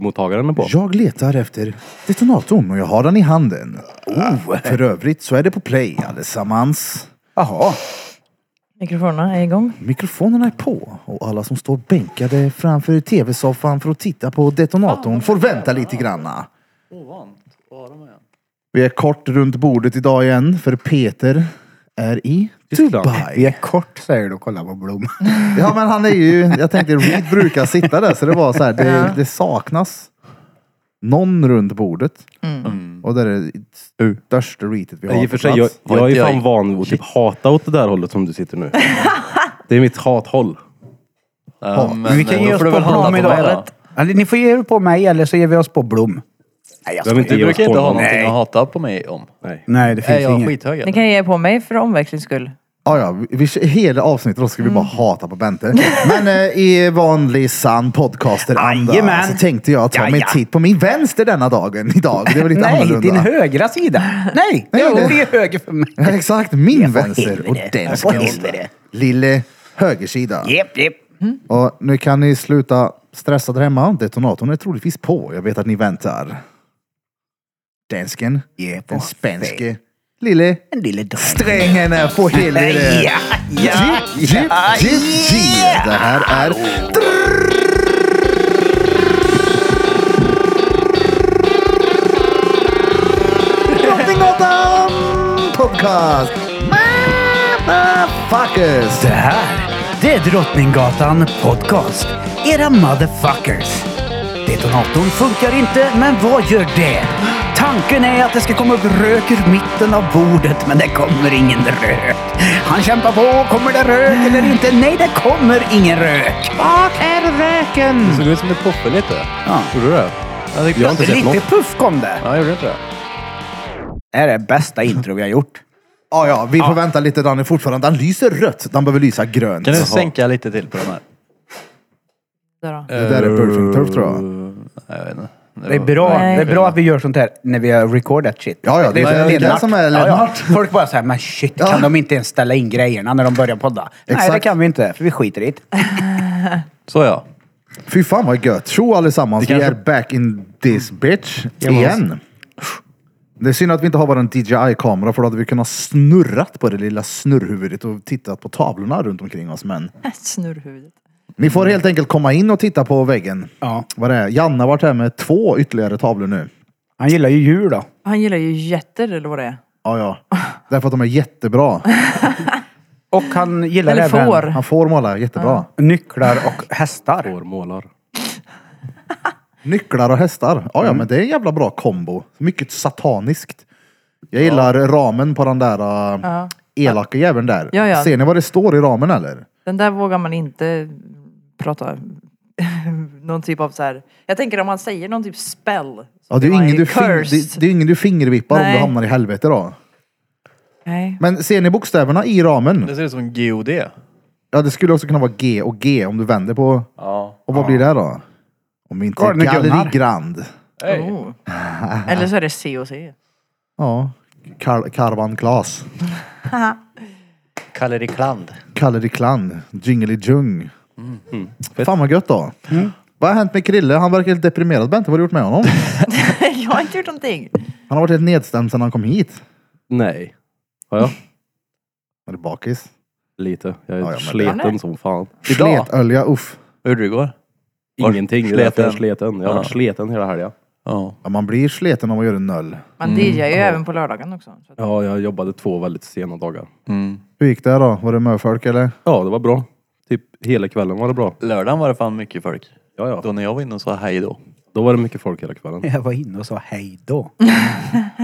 mottagaren är på. Jag letar efter detonatorn och jag har den i handen. Oh. För övrigt så är det på play allesammans. Jaha, Mikrofonerna är igång. mikrofonerna är på och alla som står bänkade framför tv-soffan för att titta på detonatorn får vänta lite granna. Ovant att ha dem igen. Vi är kort runt bordet idag igen för Peter är i Tyskland. Dubai. Vi är kort säger du, kolla på Blom. Ja men han är ju, jag tänkte Reed brukar sitta där så det var så här, det, Ja. det saknas någon runt bordet. Och där är det största reetet vi har. Nej, I och för på sig, jag, plats. Vad jag är inte jag fan gick- van vid att typ hata åt det där hållet som du sitter nu. Det är mitt hathåll. Ja, men vi kan eh, ge då oss får du på väl handla Blom på mig idag, då. vet. Eller, ni får ge er på mig eller så ger vi oss på Blom. Nej, jag Behöver skojar. inte Du ge oss brukar inte ha på någonting Nej. att hata på mig om. Nej. Nej, det Är finns jag inget. skithög Ni eller? kan ge er på mig för omväxlings skull. Ja, ja, vi, vi, hela avsnittet då ska vi bara Mm. hata på Bente. Men eh, i vanlig sann podcaster-anda Jajamän. så tänkte jag ta mig Jaja. tid på min vänster denna dagen idag. Det var lite Nej, annorlunda. din högra sida. Nej, Nej, jo, det- det är höger för mig. Ja, Exakt, min Jag får vänster och helvete. den Jag får ska jag helvete. hålla. Lille högersida. Jep, jep. Och nu kan ni sluta stressa där hemma. Detonatorn är troligtvis på. Jag vet att ni väntar. Dansken, Yeah, den på spänske, lille En lille dag. drängen är på helvete. Ja, ja, Jip, jip, ja, Oh. jip, jip. Det här är... Drottninggatan podcast! Motherfuckers! Det här, det är Drottninggatan Podcast. Era motherfuckers. Detonatorn funkar inte, men vad gör det? Tanken är att det ska komma upp rök ur mitten av bordet, men det kommer ingen rök. Han kämpar på, kommer det rök eller inte? Nej, det kommer ingen rök. Vart är röken? Det såg ut som ett poppe lite. Ja. Gjorde du det? Jag, tyckte- Jag har inte sett Lite något. puff kom det. Ja, jag gjorde inte det. Det här är det bästa intro vi har gjort. Ja, ja, vi får vänta lite. Den är fortfarande... Den lyser rött. Den behöver lysa grönt. Kan du Jaha. sänka lite till på den här? Där då. Det där är Burfing Turf tror jag. Nej, jag vet inte. Det är bra, Nej. det är bra att vi gör sånt här när vi har recordat shit. Ja, ja, det är det Lennart. som är Lennart. Folk bara såhär, men shit, kan Ja. de inte ens ställa in grejerna när de börjar podda? Nej, Exakt. det kan vi inte, för vi skiter i det. Så ja. Fy fan vad gött. Tjo allesammans. Det kanske- Vi är back in this bitch. Igen. Det är synd att vi inte har vår DJI-kamera för då hade vi kunnat snurrat på det lilla snurrhuvudet och tittat på tavlorna runt omkring oss. Men Snurrhuvudet. ni får helt enkelt komma in och titta på väggen. Ja. Vad det är. Janne har varit här med två ytterligare tavlor nu. Han gillar ju djur då. Han gillar ju jätter eller vad det är. Ja, ja. Därför att de är jättebra. Och han gillar Eller även får. Han får måla jättebra. nycklar och hästar. Får målar. Nycklar och hästar. Ja, ja, Mm. men det är en jävla bra kombo. Mycket sataniskt. Jag gillar ramen på den där äh, elaka jäveln där. Ja, ja. Ser ni vad det står i ramen eller? Den där vågar man inte prata någon typ av så här. Jag tänker om man säger någon typ spell. så Ja, det, är blir ju man ingen du fin- cursed. det, det är ju ingen du fingervippar om Nej. du hamnar i helvete då. Nej. Men ser ni bokstäverna i ramen? Det ser ut som GOD. Ja, det skulle också kunna vara G och G om du vänder på... Ja. Och vad blir det då? Om inte Galne Galleri Gunnar. Grand. Hej. Oh. Eller så är det C och C. Ja. Kar- Karvan Klas. Kalle Rikland. Kalleri Klan. Jingelidjung. Fan vad gött då. Vad har hänt med Krille? Han verkar helt deprimerad Bente. Vad har du gjort med honom? jag har inte gjort någonting. Han har varit helt nedstämd sedan han kom hit. Nej. Har jag? Är du bakis? Lite. Jag är Ja, ja, men- Han är- sleten som fan. Idag? Sletölja, uff. Vad gjorde du igår? Var- Ingenting. Det är därför jag är sleten? sleten. Jag har varit Ja. sleten hela helgen. Ja. Ja, man blir sleten om man gör en noll. Man DJar ju även på lördagen också. Så att- Ja, jag jobbade två väldigt sena dagar. Mm. Hur gick det då? Var det möfolk eller? Ja, det var bra. Typ hela kvällen var det bra. Lördagen var det fan mycket folk. Ja, ja. Då när jag var inne och sa hej då. Då var det mycket folk hela kvällen. Jag var inne och sa hej då.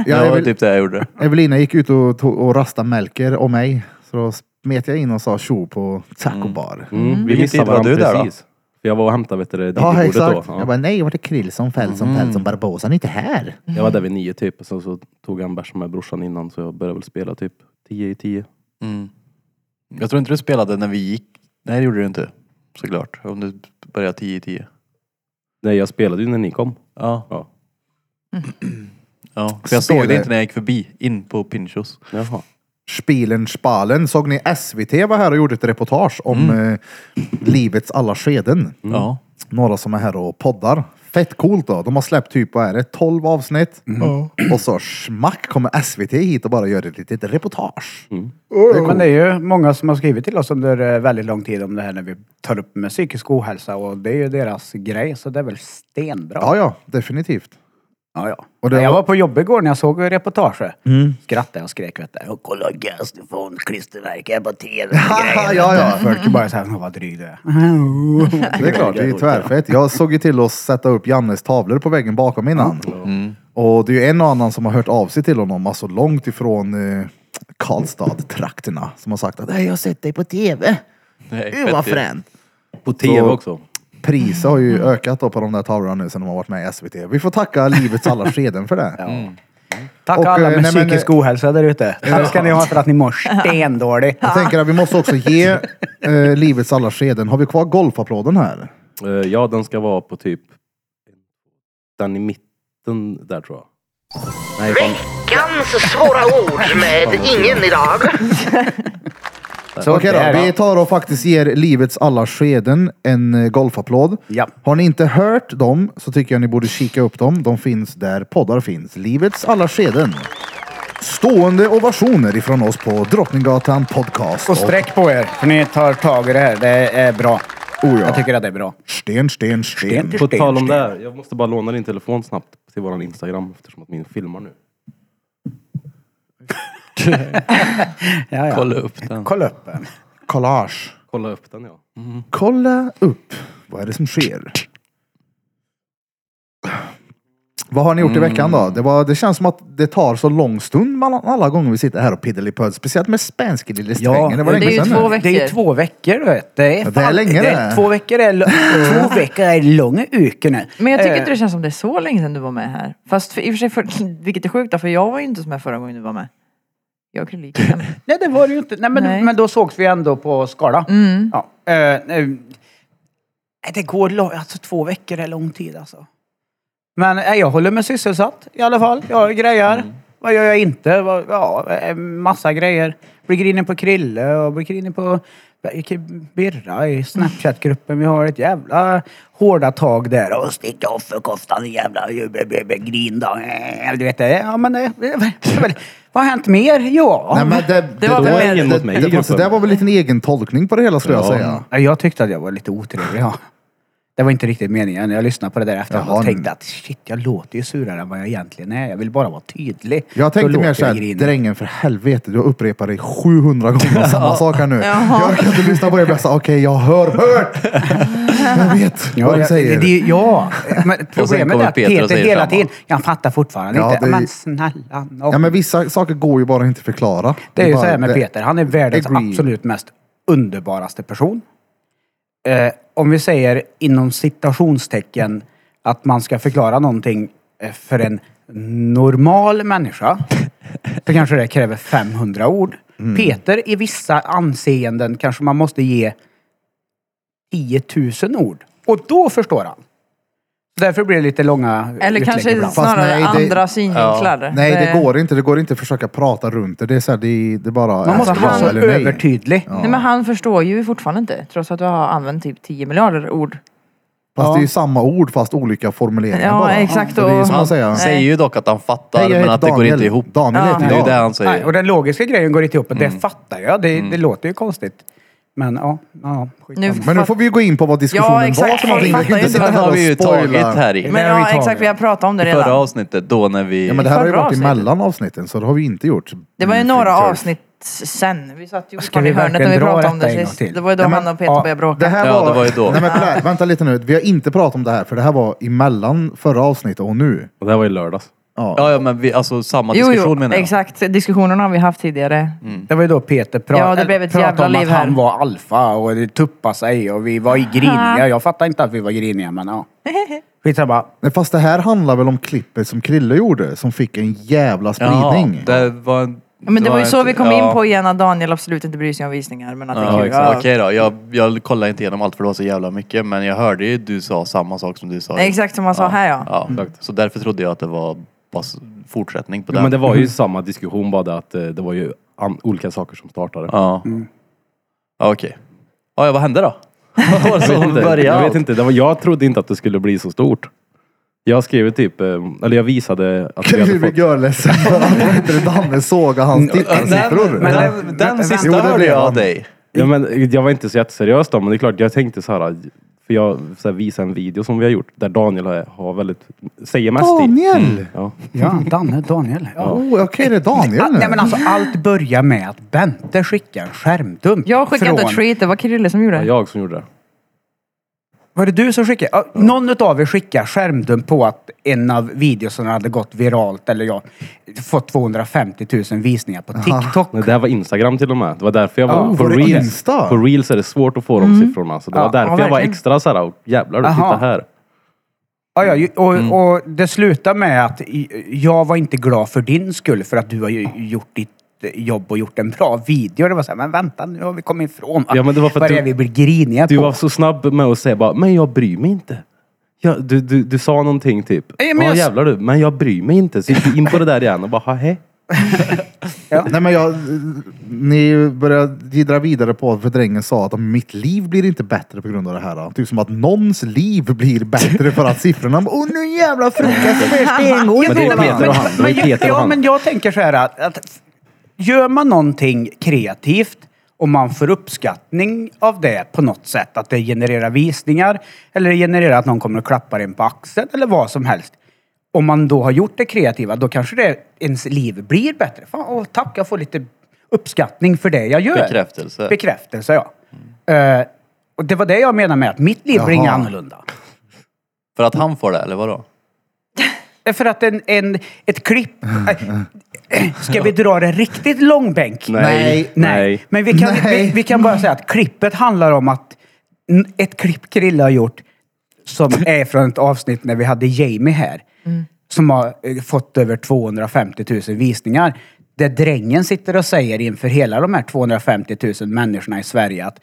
Ja, det var Evel- typ det jag gjorde. Evelina gick ut och, tog, och rastade Melker och mig. Så då smet jag in och sa tjo på tacobar. Mm. Vi Vilken tid missade var varandra du där då? precis. För jag var och hämtade vet du, det Ja, DJ-bordet exakt. då. Jag Ja. bara, nej, var det Krill som fäll som fäll som Barbosa? Han är inte här. Jag var Mm. där vid nio typ. Och sen så tog jag en bärs med brorsan innan så jag började väl spela typ tio i tio. Mm. Jag tror inte du spelade när vi gick. Nej det gjorde du inte. Såklart. Om du började 10 i 10. Nej, jag spelade ju när ni kom. Ja. Ja. ja. För jag såg Spelade. det inte när jag gick förbi. In på Pinchos. Jaha. Spilen Spalen. Såg Mm. ni SVT var här och gjorde ett reportage om eh, livets alla skeden? Ja. Några som är här och poddar. Fett coolt då. De har släppt typ, vad är det, 12 avsnitt. Och så smack kommer SVT hit och bara gör ett litet reportage. Oh. Men det är ju många som har skrivit till oss under eh, väldigt lång tid om det här när vi tar upp med psykisk ohälsa och det är ju deras grej så det är väl stenbra. Ja, ja, definitivt. Ja, ja. Och det Nej, Jag var- var Mm. på jobb igår när jag såg reportaget. Skrattade och skrek vet du. Och kolla Gastifon, klistermärken på tv. ja, ja. Folk är bara såhär, "Åh, vad dryg du är. Det är klart, det är ju tvärfett. Jag såg ju till att sätta upp Jannes tavlor på väggen bakom innan. Och det är ju en och annan som har hört av sig till honom, alltså långt ifrån eh, Karlstad-trakterna, som har sagt att "Nej, jag har sett dig på TV. Nej, Gud vad frän. På tv Så- också. Priset har ju ökat då på de där tavlorna nu sen de har varit med i SVT. Vi får tacka livets alla skeden för det. Tack Och, alla eh, med nej, men, psykisk ohälsa där ute. Tack ska ni ha för att ni mår stendåligt. Jag tänker att vi måste också ge eh, livets alla skeden. Har vi kvar golfapplåden här? Eh, ja, den ska vara på typ... Den i mitten där tror jag. Nej, fan. Veckans svåra ord med ingen idag. Så Okej där, då, ja. vi tar och faktiskt ger livets alla skeden en eh, golfapplåd. Ja. Har ni inte hört dem så tycker jag ni borde kika upp dem. De finns där poddar finns. Livets alla skeden. Stående ovationer ifrån oss på Drottninggatan Podcast. Och sträck på er, för ni tar tag i det här. Det är bra. Oh ja. Jag tycker att det är bra. Sten, sten, sten. Sten. På tal om det, här, jag måste bara låna din telefon snabbt till våran Instagram eftersom att min filmar nu. Ja, ja. Kolla upp den. Kolla upp den. Collage. Kolla upp den ja. Kolla upp. Vad är det som sker? Vad har ni gjort i veckan då? Det, var, det känns som att det tar så lång stund mellan alla gånger vi sitter här och piddelipöd. Speciellt med spänske lille strängen. det var det är ju länge sedan två nu. veckor. Det är ju två veckor du vet. Det är, Ja, det är länge det. Två veckor är, lo- två veckor är långa veckor nu. Men jag tycker Eh, inte det känns som det är så länge sedan du var med här. Fast för, i och för sig, för, vilket är sjukt då, för jag var ju inte med förra gången du var med. Jag kunde lika gärna. Nej, det var det ju inte. Nej, men, Nej. Mm. men då sågs vi ändå på Skala. Ja. Eh, eh, nej, det går långt. Alltså två veckor är lång tid alltså. Men eh, jag håller mig sysselsatt i alla fall. Jag har grejer. Vad gör jag inte? Vad, ja, eh, massa grejer. Blir grinig på Krille och blir grinig på Birra i Snapchat-gruppen. Vi har ett jävla hårda tag där. Och sticka av för koftan, jävla grin då. Eh, Du vet, det. ja men det, Vad har hänt mer? Ja. Nej, men det, Det var det- väl det- ingen det- mot mig i det- gruppen. alltså, Det var väl lite en egen tolkning på det hela skulle jag säga. Ja, Jag tyckte att jag var lite otrevlig, ja. Det var inte riktigt meningen. Jag lyssnade på det där efteråt Jaha. och tänkte att shit, jag låter ju surare än vad jag egentligen är. Jag vill bara vara tydlig. Jag Då tänkte låter mer jag såhär, grinig. drängen för helvete, du upprepar dig 700 gånger samma sak här nu. Jaha. Jag orkar inte lyssna på det, jag bara så, okej jag hör hört! Jag vet vad Ja, du jag, säger. det, det, ja, men problemet kommer är att Peter och Peter säger hela samma. tiden, jag fattar fortfarande Ja, inte. det- Men snälla nån. Ja men vissa saker går ju bara inte att förklara. Det är ju bara- så här med det- Peter. Han är världens agree. absolut mest underbaraste person. Eh, om vi säger inom citationstecken att man ska förklara någonting eh, för en normal människa. Då kanske det kräver 500 ord. Mm. Peter, i vissa anseenden kanske man måste ge 10 000 ord. Och då förstår han. Därför blir det lite långa Eller utlägg kanske ibland. snarare nej, det- andra synvinklar. Nej det går inte, det går inte att försöka prata runt det. Det är så här, det, det bara Man är Alltså, måste så vara ja så eller nej. övertydlig. Nej men han förstår ju fortfarande inte. Trots att du har använt typ 10 miljarder ord. Fast det är ju samma ord fast olika formuleringar Ja, bara. exakt, Så Det är ju och- som att säga. Han säger ju dock att han fattar, Hej, jag men heter att det går Daniel. inte ihop. Daniel Det heter är ju jag. det han Nej, säger. och den logiska grejen går inte ihop. Det fattar jag. Det, det låter ju konstigt. Men ja, ja skit. Nu Men nu får vi ju gå in på vad diskussionen Ja, exakt. var för någonting. Vi Folk kan ju inte fattar sitta Den här har och vi ju tagit spoila. här i Men där vi ja, tar exakt. Vi har pratat om det redan. förra avsnittet då när vi... Ja men det här har ju Förra varit avsnittet. emellan avsnitten så det har vi inte gjort. Det var ju Mm, några fint, avsnitt sen. Vi satt ju fortfarande vi i hörnet när vi verkligen dra pratade om detta en det gång sist. till? Det var ju då Nej, men- han och Peter ja, började Det bråka. här Ja, var... det var ju då. Nej, men förlåt, vänta lite nu. Vi har inte pratat om det här för det här var emellan förra avsnittet och nu. Och det här var i lördags. Ja, ja men vi, alltså samma Jo, diskussion jo, menar jag. exakt. Diskussionerna har vi haft tidigare. Det var ju då Peter pra- Ja, det blev eller ett pratade jävla om liv att här. han var alfa och det tuppade sig och vi var i griniga. Jag fattar inte att vi var griniga men ja. Skitsamma. Nej, fast det här handlar väl om klippet som Krille gjorde som fick en jävla spridning. Jaha, det var en, Ja, Men det var ju ett- så vi kom ja. in på igen att Daniel absolut inte bryr sig om visningar. Men att det Ja, är kul. exakt. Ja, Okej då, jag, jag kollar inte igenom allt för det var så jävla mycket men jag hörde ju du sa samma sak som du sa. Nej, Exakt som han sa här ja. Ja, så därför trodde jag att det var bara s- fortsättning på Ja, den. men det var ju samma diskussion bara det att eh, det Mm. var ju an- olika saker som startade. Ja. Ja, Okej. Ja, ja, vad hände då? Var det så Jag vet Alltså, hon inte. började? Jag vet allt? inte. Det var, jag trodde inte att det skulle bli så stort. Jag skrev typ, eh, eller jag visade att vi hade Krille fått... gör ledsen för att inte Danne sågar hans tittarsiffror. Den, den, den sista Jo, det hörde blev jag av han. dig. Ja, men jag var inte så jätteseriös då, men det är klart, jag tänkte så här, eh, för jag så här, visade en video som vi har gjort där Daniel har- har väldigt, säger mest i. Mm. Daniel! Ja. Ja, Danne, Daniel. Ja. Oh, Okej, det är Ah, Daniel nu. nej men alltså allt börjar med att Bente skickar en skärmdump. Jag skickade inte treat, det var Krille som gjorde Det var det. jag som gjorde det. Var det du som skickade? Ja, Någon utav er skickar skärmdump på att en av videorna hade gått viralt eller ja, fått 250 000 visningar på TikTok. Nej, det här var Instagram till och med. Det var därför jag var... Oh, på, var det reels, Insta? på reels är det svårt att få de siffrorna. Så det Ja, var därför ja, jag var verkligen. extra så här, och jävlar du, Aha. titta här. Ja, ja, ju- och, Mm. och det slutar med att i- jag var inte glad för din skull för att du har ju gjort ditt jobb och gjort en bra video. Det var så här, men vänta nu har vi kommit ifrån. Ja, men det var för att Vad är det du- vi blir griniga Du på? var så snabb med att säga bara, men jag bryr mig inte. Ja, du, du, du sa någonting typ, Nej, ja men jag- jävlar du, men jag bryr mig inte. Så gick du in på det där igen och bara, haha. Nej men jag, ni börjar gidra vidare på att fördrängen sa att mitt liv blir inte bättre på grund av det här. Typ som att någons liv blir bättre för att siffrorna... Åh nu jävla frukost för stengod! Men det är Peter och han. Det är Men, jag- Peter och ja, men han. jag tänker så här att, att gör man någonting kreativt och man får uppskattning av det på något sätt, att det genererar visningar eller det genererar att någon kommer och klappar en på axeln eller vad som helst. Om man då har gjort det kreativa, då kanske det, ens liv blir bättre. Fan, åh, tack, jag får lite uppskattning för det jag gör. Bekräftelse. Bekräftelse, ja. Eh, och det var det jag menade med att mitt liv blir Jaha. inget annorlunda. För att han får det, eller vadå? För att en, en, ett klipp... Eh, Ska vi dra det riktigt långbänk? Nej. Nej. Men vi kan, Nej. Vi, vi kan bara säga att klippet handlar om att n- ett klipp Krille har gjort som är från ett avsnitt när vi hade Jamie här. Mm. Som har eh, fått över 250 000 visningar. Där drängen sitter och säger inför hela de här 250 000 människorna i Sverige att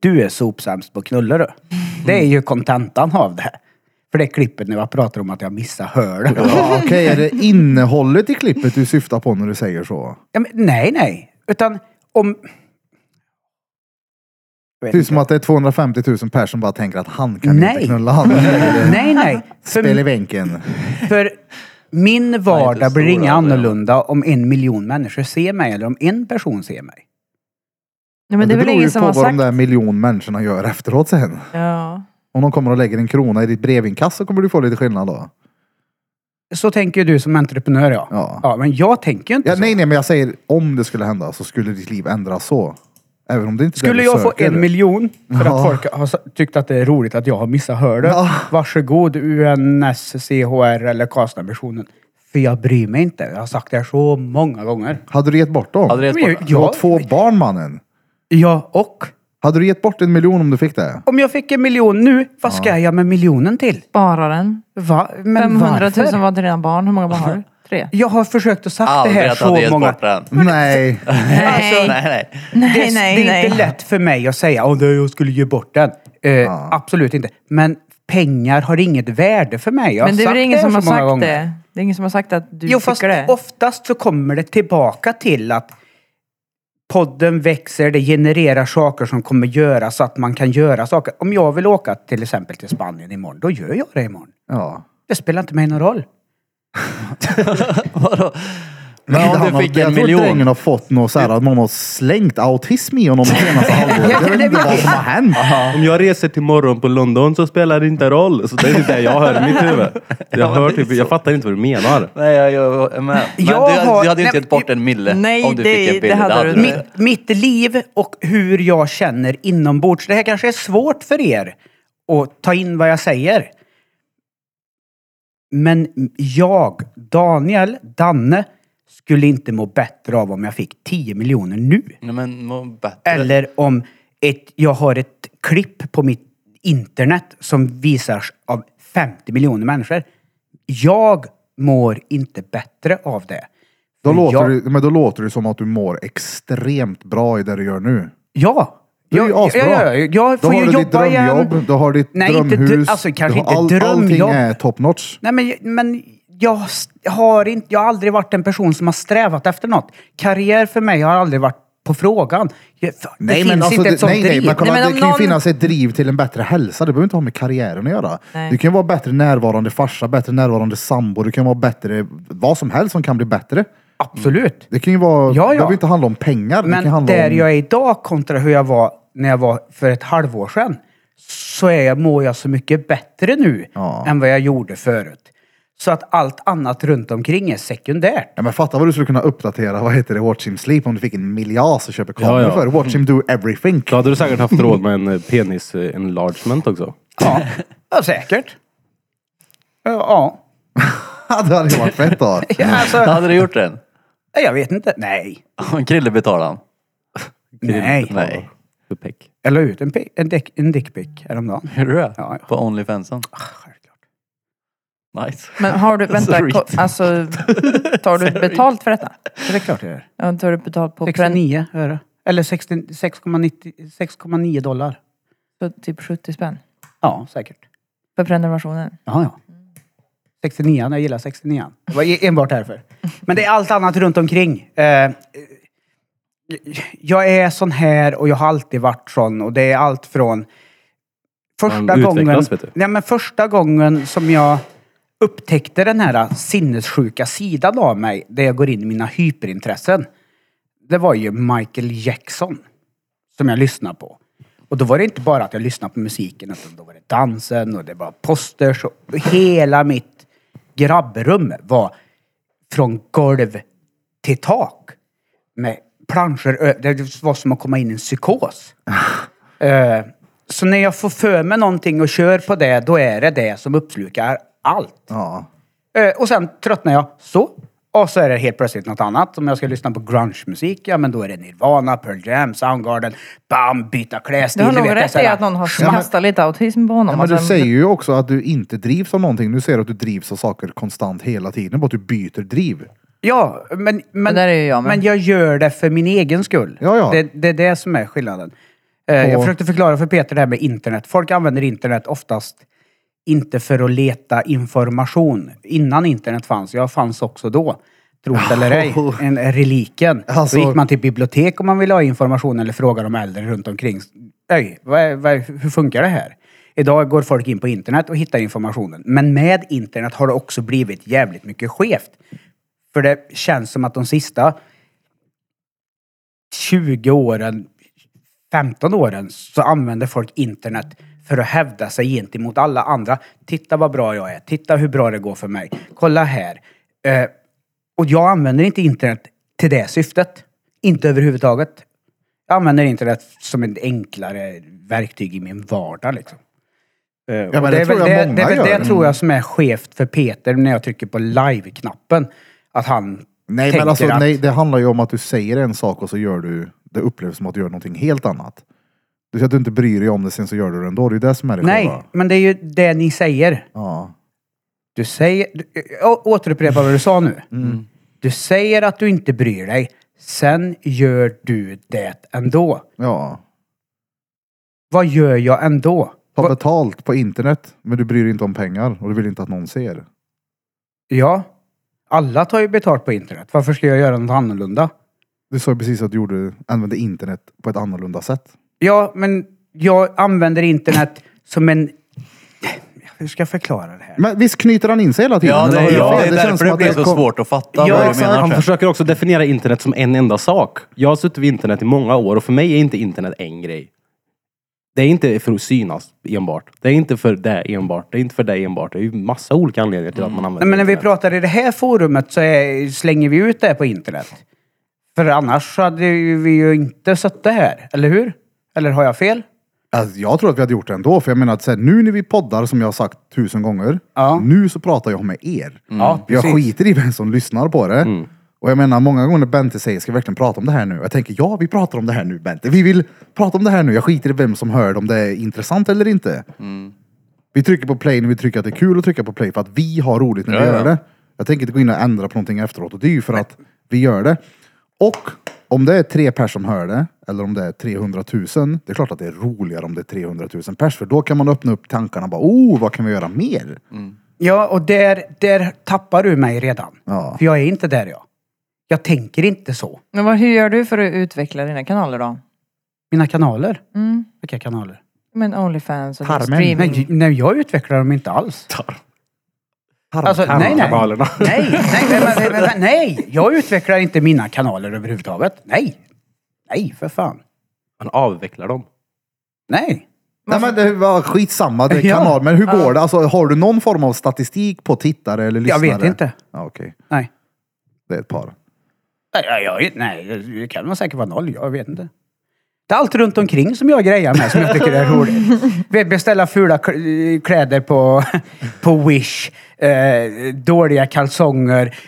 du är sopsämst på knullor du. Det är ju kontentan av det. här. För det är klippet när jag pratar om att jag missar hörde. Ja, Okej, är det innehållet i klippet du syftar på när du säger så? Ja, men, nej, nej. Utan om... Jag vet Typ inte. som att det är 250 000 personer som bara tänker att han kan Nej. inte knulla han. Nej, nej. Spel i För, bänken. för min vardag inte blir stora, inga det är- annorlunda om en miljon människor ser mig eller om en person ser mig. Nej, men det är väl beror ju ingen som på har vad de sagt... där miljon människorna gör efteråt sen. Ja. Om de kommer och lägger en krona i ditt brevinkast så kommer du få lite skillnad då. Så tänker ju du som entreprenör, ja. Ja. men jag tänker ju inte Ja, så. nej, nej, men jag säger om det skulle hända så skulle ditt liv ändras så. Även om det inte är Skulle det du jag få söker. en miljon för att Ja. folk har s- tyckt att det är roligt att jag har missat hörde. Ja. Varsågod UNSCHR eller Karlstadmissionen. För jag bryr mig inte. Jag har sagt det här så många gånger. Hade du gett bort dem? Hade det Men gett jag- bort Du har två barn mannen. Ja, och? Hade du gett bort en miljon om du fick det? Om jag fick en miljon nu, vad ska jag med miljonen till? Bara den. Va? Men 500 varför? 000 var till dina barn. Hur många barn har du? Tre? Jag har försökt att sagt det Aldrig här att han hade så gett många... bort den. Nej. Nej, nej. alltså, Det, Nej, nej, det är nej. inte lätt för mig att säga att jag skulle ge bort den. Eh, Absolut inte. Men pengar har inget värde för mig. Jag har Men det är sagt väl ingen här som så har många sagt gånger. det? Det är ingen som har sagt att du Jo, fast tycker det? oftast så kommer det tillbaka till att podden växer, det genererar saker som kommer göra så att man kan göra saker. Om jag vill åka till exempel till Spanien imorgon, då gör jag det imorgon. Ja. Det spelar inte mig någon roll. Vadå? Nej, Men om han har- du fick jag en tror att drängen miljon. har fått något så här, att någon har slängt autism i honom det senaste halvåret. Jag vet inte vad som har hänt. Om jag reser till morgon på London så spelar det inte roll. Så det är typ det jag hör i mitt huvud. Jag, hör typ, jag fattar inte vad du menar. Nej, jag, jag, men, men du, Jag har- du hade ju inte nej, gett bort en mille nej, om du det- fick en det billig. hade du inte. mitt, mitt liv och hur jag känner inombords. Det här kanske är svårt för er att ta in vad jag säger. Men jag, Daniel, Danne, skulle inte må bättre av om jag fick 10 miljoner nu. Nej, men må bättre. Eller om ett, jag har ett klipp på mitt internet som visas av 50 miljoner människor. Jag mår inte bättre av det. Då För låter, jag, det, men då låter det som att du mår extremt bra i det du gör nu. Ja! Det är ju jag, asbra. jag, jag, jag Då får har ju du ditt jobba drömjobb, igen. du har ditt Nej, inte drömhus. dr- alltså, kanske du har, inte drömjobb. Allting är top notch. Nej, men, men jag, s- har inte, jag har aldrig varit en person som har strävat efter något. Karriär för mig har aldrig varit på frågan. Ja, fan, Det Nej, finns men alltså, inte ett det, sånt nej, nej, driv. men kolla, Nej, men det om kan ju någon- finnas ett driv till en bättre hälsa. Det behöver inte ha med karriären att göra. Nej. Du kan vara bättre närvarande farsa, bättre närvarande sambo, du kan vara bättre, vad som helst som kan bli bättre. Absolut. Det kan ju vara, Ja, ja. det behöver inte handla om pengar. det kan Men handla där om... jag är idag kontra hur jag var när jag var för ett halvår sedan. Så är jag, mår jag så mycket bättre nu Ja. än vad jag gjorde förut. Så att allt annat runt omkring är sekundärt. Ja, men fatta vad du skulle kunna uppdatera, vad heter det, Watch Him Sleep om du fick en miljard så köper kameror Ja, Mm. ja. för. Watch Him Do Everything. Då hade du säkert haft råd med en eh, penis eh, enlargement också. Ja, ja säkert. Ja, Ja. det hade ju varit fett då. ja alltså, Hade du gjort den? jag vet inte. Nej. Om Krille betalar han. Nej. Nej. För peck. Jag la ut en, pi- en, dick, en dickpic häromdagen. Gjorde du det? Ja, ja. På Onlyfansen? Självklart. Nice. Men har du, vänta, Sorry. ko, alltså tar du betalt för detta? Så det är klart det är. Ja, tar du betalt på pren- 69 öre. Eller 60 6,90 6,9 dollar. så typ 70 spänn? Ja, säkert. För prenumerationen? Ja, ja. 69 jag gillar 69 Det var e- enbart därför. Men det är allt annat runt omkring. Eh, eh, jag är sån här och jag har alltid varit sån och det är allt från första Man utvecklas, gången, vet du. nej, men första gången som jag upptäckte den här sinnessjuka sidan av mig, där jag går in i mina hyperintressen. Det var ju Michael Jackson som jag lyssnade på. Och då var det inte bara att jag lyssnade på musiken, utan då var det dansen och det var posters och hela mitt grabbrum var från golv till tak. Med planscher, ö- det var som att komma in i en psykos. Eh, Så när jag får för mig någonting och kör på det, då är det det som uppslukar allt. Ja. Eh, Och sen tröttnar jag så. Och så är det helt plötsligt något annat. Om jag ska lyssna på grunge-musik, ja men då är det Nirvana, Pearl Jam, Soundgarden, bam, byta Du klädstil. har du nog vet, rätt så här- i att någon har Ja, men- kastat lite autism på honom. Ja, men du Alltså, säger ju också att du inte drivs av någonting. Nu säger du att du drivs av saker konstant hela tiden. Bara att du byter driv. Ja, men, men, där är ju jag med. men jag gör det för min egen skull. Ja, ja. Det, det är det som är skillnaden. Eh, Och- Jag försökte förklara för Peter det här med internet. Folk använder internet oftast inte för att leta information. Innan internet fanns, jag fanns också då. Tro det eller ej, en reliken. Alltså- Då gick man till bibliotek om man ville ha information eller fråga de äldre runt omkring. Oj, vad, är- vad, är- hur funkar det här? Idag går folk in på internet och hittar informationen. Men med internet har det också blivit jävligt mycket skevt. För det känns som att de sista 20 åren, 15 åren, så använder folk internet för att hävda sig gentemot alla andra. Titta vad bra jag är. Titta hur bra det går för mig. Kolla här. Eh, och jag använder inte internet till det syftet. Inte överhuvudtaget. Jag använder internet som ett enklare verktyg i min vardag. Liksom. Eh, och men det är tror väl jag det, många det, är väl gör. Mm. det tror jag som är skevt för Peter när jag trycker på live-knappen. Att han Nej, tänker men alltså, att... nej, det handlar ju om att du säger en sak och så gör du... Det upplevs som att du gör någonting helt annat. Du säger att du inte bryr dig om det, sen så gör du det ändå. Det är ju det som är det Nej, själva. men det är ju det ni säger. Ja. Du säger... Du, jag återupprepar vad du sa nu. Mm. Du säger att du inte bryr dig. Sen gör du det ändå. ja. Vad gör jag ändå? Ta Vad- betalt på internet, men du bryr dig inte om pengar och du vill inte att någon ser. Ja, alla tar ju betalt på internet. Varför ska jag göra något annorlunda? Du sa ju precis att du gjorde, använde internet på ett annorlunda sätt. Ja, men jag använder internet som en... Hur ska jag förklara det här? Men visst knyter han in sig hela tiden? Ja, det eller har är, jag ja, fel? det är känns som därför det att blir så kom- svårt att fatta Ja, vad du exakt. menar. Han sen. försöker också definiera internet som en enda sak. Jag har suttit vid internet i många år och för mig är inte internet en grej. Det är inte för att synas enbart. Det är inte för det enbart. Det är inte för det enbart. Det är ju massa olika anledningar till att man använder Mm. Nej, men när vi internet. pratar i det här forumet så är, slänger vi ut det här på internet. För annars så hade ju vi ju inte suttit här, eller hur? Eller har jag fel? Alltså, jag tror att vi hade gjort det ändå, för jag menar att så här, nu när vi poddar, som jag har sagt tusen gånger, Ja. nu så pratar jag med er. Mm. Ja, jag precis. skiter i vem som lyssnar på det. Och jag menar, många gånger när Bente säger, ska vi verkligen prata om det här nu? Jag tänker, ja vi pratar om det här nu Bente. Vi vill prata om det här nu. Jag skiter i vem som hör det, om det är intressant eller inte. Vi trycker på play när vi tycker att det är kul att trycka på play, för att vi har roligt när vi Ja, gör ja. det. Jag tänker inte gå in och ändra på någonting efteråt, och det är ju för att vi gör det. Och om det är tre pers som hör det, eller om det är 300 000, det är klart att det är roligare om det är 300 000 pers, för då kan man öppna upp tankarna och bara, oh, vad kan vi göra mer? Ja, och där, där tappar du mig redan. Ja. För jag är inte där jag. Jag tänker inte så. Men vad, hur gör du för att utveckla dina kanaler då? Mina kanaler? Mm. Vilka kanaler? Men Onlyfans och Tarmen. streaming. Nej, nej, jag utvecklar dem inte alls. Alltså, nej, nej. Kanalerna. Nej, nej, vänta, vänta, vänta, nej! Jag utvecklar inte mina kanaler överhuvudtaget. Nej! Nej, för fan. Man avvecklar dem. Nej. Nej men det var skitsamma, det är Ja. kanal. Men hur går det? Alltså, har du någon form av statistik på tittare eller Jag lyssnare? vet inte. Ja, okej. Nej. Det är ett par. Nej, jag- jag, nej, det kan vara säkert vara noll. Jag vet inte. Det är allt runt omkring som jag grejar med som jag tycker är roligt. Vi Beställa fula k- kläder på, på Wish. Eh, dåliga kalsonger.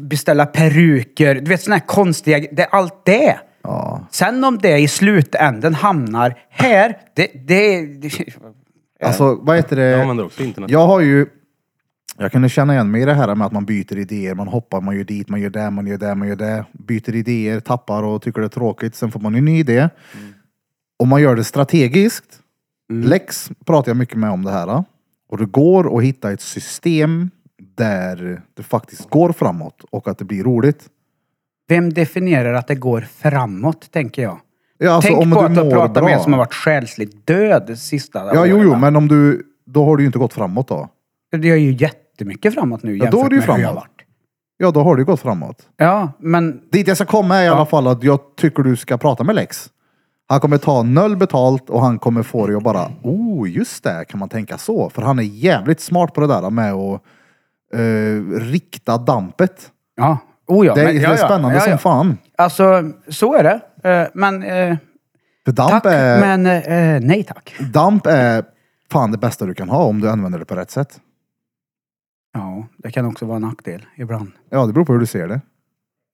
Beställa peruker. Du vet sådana här konstiga... Det är allt det. Ja. Sen om det i slutänden hamnar här, det... det, det Alltså, vad heter det? Jag använder också internet. Jag har ju... Jag kunde känna igen mig i det här med att man byter idéer. Man hoppar, man gör dit, man gör det, man gör det, man gör det. Byter idéer, tappar och tycker det är tråkigt. Sen får man en ny idé. Om man gör det strategiskt. Lex pratar jag mycket med om det här. Och det går att hitta ett system där det faktiskt går framåt och att det blir roligt. Vem definierar att det går framåt, tänker jag? Ja, alltså, Tänk om på du att du mår pratar med en bra. som har varit själsligt död de sista Ja, åren. jo, jo, men om du... Då har du ju inte gått framåt då. Det är ju jättemycket framåt nu Ja, jämfört då är det ju med hur jag framåt. varit. Ja, då har du gått framåt. Ja, men Dit jag ska komma är i alla fall att jag tycker du ska prata med Lex. Han kommer ta noll betalt och han kommer få dig att bara, oh just det, kan man tänka så? För han är jävligt smart på det där med att eh, rikta dampet. ja. Oh ja, Det är, men, ja, det är ja, spännande ja, ja. som fan. Alltså, så är det. Eh, Men, eh, För damp, tack, är, men eh, nej tack. damp är fan det bästa du kan ha om du använder det på rätt sätt. Ja, det kan också vara en nackdel ibland. Ja, det beror på hur du ser det.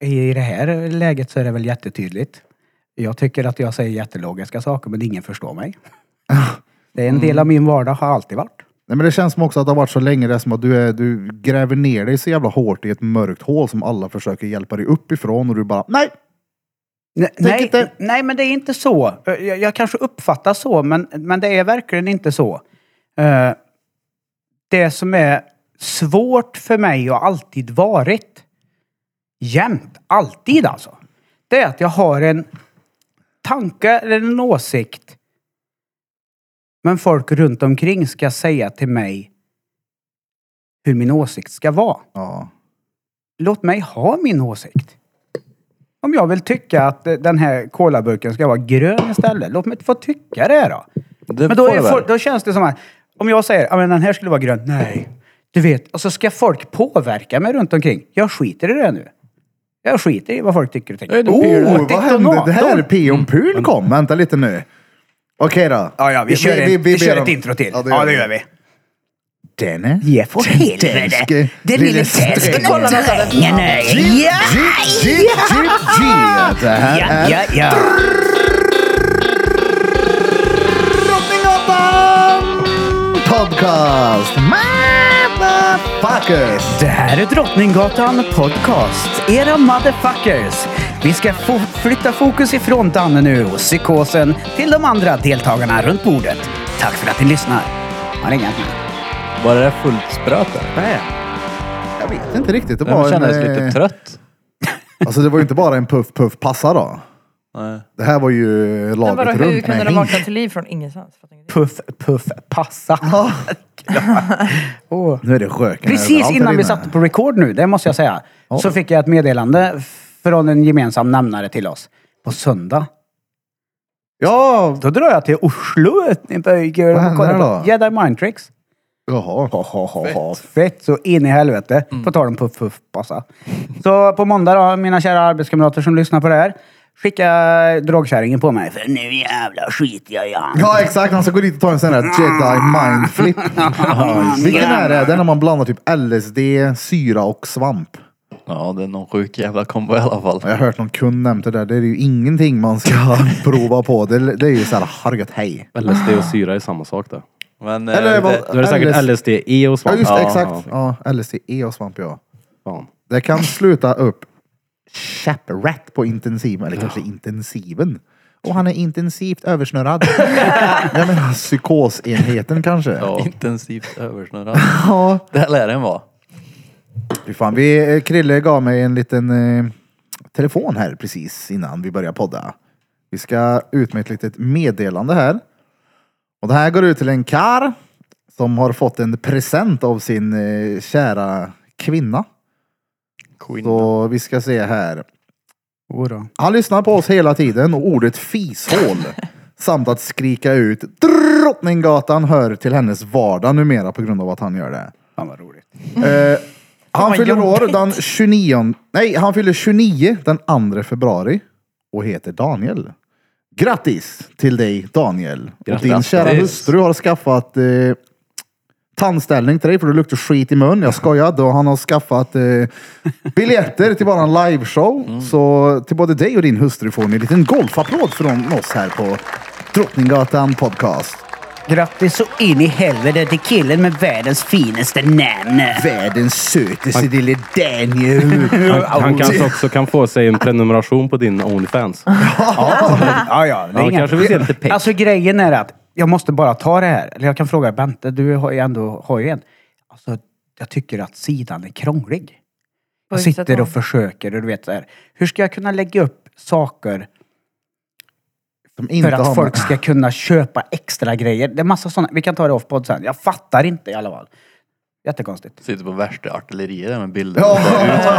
I i det här läget så är det väl jättetydligt. Jag tycker att jag säger jättelogiska saker, men ingen förstår mig. Det är en del av min vardag, har alltid varit. Nej, men det känns som också att det har varit så länge, det är som att du, är, du gräver ner dig så jävla hårt i ett mörkt hål som alla försöker hjälpa dig uppifrån och du bara, nej, Ne- Nej, inte. nej, men det är inte så. Eh, Jag, jag kanske uppfattar så, men, men det är verkligen inte så. Eh, det som är svårt för mig och alltid varit, jämt, alltid alltså, det är att jag har en tanke eller en åsikt. Men folk runt omkring ska säga till mig hur min åsikt ska vara ja, låt mig ha min åsikt. Om jag vill tycka att eh, den här kolaburken ska vara grön istället, låt mig få tycka det då. Det Men då, får är det väl. folk, då känns det som att, om jag säger att den här skulle vara grön, nej. Du vet, och så ska folk påverka mig runt omkring. Jag skiter i det nu. Jag skiter i vad folk tycker och tänker. Ja, det blir det. titta oh, vad hände? nato. Det här är Pion Pul kom. Vänta lite nu. Okej då. Mm. Ja, ja, vi, kör, en, vi, ber kör om- ett intro till. Ja, det gör, vi. Denne. Ja, för helvete. Danske Den lille svensken kollar någonstans. Ja, Jip, jip, jip, jip. Det här är ja, ja. Drottninggatan Podcast. Motherfuckers. Det här är Drottninggatan Podcast. Era motherfuckers! Vi ska fo- flytta fokus ifrån Danne nu och psykosen till de andra deltagarna runt bordet. Tack för att ni lyssnar. Har inga Var det där fullt spröt där? Jag vet inte riktigt. Det Jag var en, kändes eh, lite trött. Alltså det var ju inte bara en puff puff passa då. Nej. Det här var ju Men vadå, laget hur runt kunde med de hink. vakna till liv från ingenstans? Fattar ingenting. Puff, puff, passa. Åh. Nu är det röken Precis överallt här innan inne. vi satte på record nu, det måste jag säga, så fick jag ett meddelande från en gemensam nämnare till oss. På söndag. Ja. Då drar jag till Oslo. Vad Vad händer då? Jedi Mind Tricks. Jaha. Ha, ha, ha, ha. Fett så in i helvete. Mm. På tal om puff puff passa. Så på måndag då, mina kära arbetskamrater som lyssnar på det här. Skicka dragkärringen på mig. För nu jävla skiter jag i han. Ja exakt, han ska gå dit och ta en sån här jedi mind flip. Vilken är det? Den när man blandar typ LSD, syra och svamp. Ja, det är någon sjuk jävla kombo i alla fall. Jag har hört någon kund nämnt det där. Det är ju ingenting man ska prova på. Det, det är ju såhär, har du gått hej? LSD och syra är samma sak där. Men, Eller Eller, vad- det, Då är det säkert LSD, E och Ja svamp. just det, ja, exakt. Ja, LSD E och svamp ja. fan. Det kan sluta upp käpprätt på intensiven, eller kanske intensiven. Och han är intensivt översnurrad. Jag menar psykosenheten kanske. ja. Intensivt översnurrad. Ja. det lär den vara. Fy fan, vi, eh, Krille gav mig en liten eh, telefon här precis innan vi börjar podda. Vi ska ut med ett litet meddelande här. Och det här går ut till en kar som har fått en present av sin eh, kära kvinna. Queen. Så vi ska se här. Jodå. Han lyssnar på oss hela tiden och ordet fishål samt att skrika ut Drottninggatan hör till hennes vardag numera på grund av att han gör det. Fan vad roligt. Eh, han vad fyller år jobbigt. den 29, nej han fyller 29 den 2 februari och heter Daniel. Grattis till dig Daniel. Och din Grattis. kära hustru har skaffat eh, tandställning till dig för du luktar skit i mun. Jag skojade och han har skaffat eh, biljetter till våran liveshow. Mm. Så till både dig och din hustru får ni en liten golfapplåd från oss här på Drottninggatan podcast. Grattis så in i helvete till killen med världens finaste namn. Världens sötaste lille Daniel. Han, han kanske också kan få sig en prenumeration på din Onlyfans. Ja, ja. Det är Ja, inga kanske vi ser problem. lite peck. Alltså grejen är att jag måste bara ta det här. Eller jag kan fråga Bente, du har ju ändå har ju en. Alltså, jag tycker att sidan är krånglig. På Jag vilket sätt sitter då? och försöker och du vet så här. Hur ska jag kunna lägga upp saker Som för inte har att med- folk ska kunna köpa extra grejer? Det är massa sådana. Vi kan ta det off-podd sen. Jag fattar inte i alla fall. Jättekonstigt. Sitter på värsta artilleriet där med bilder. Ja,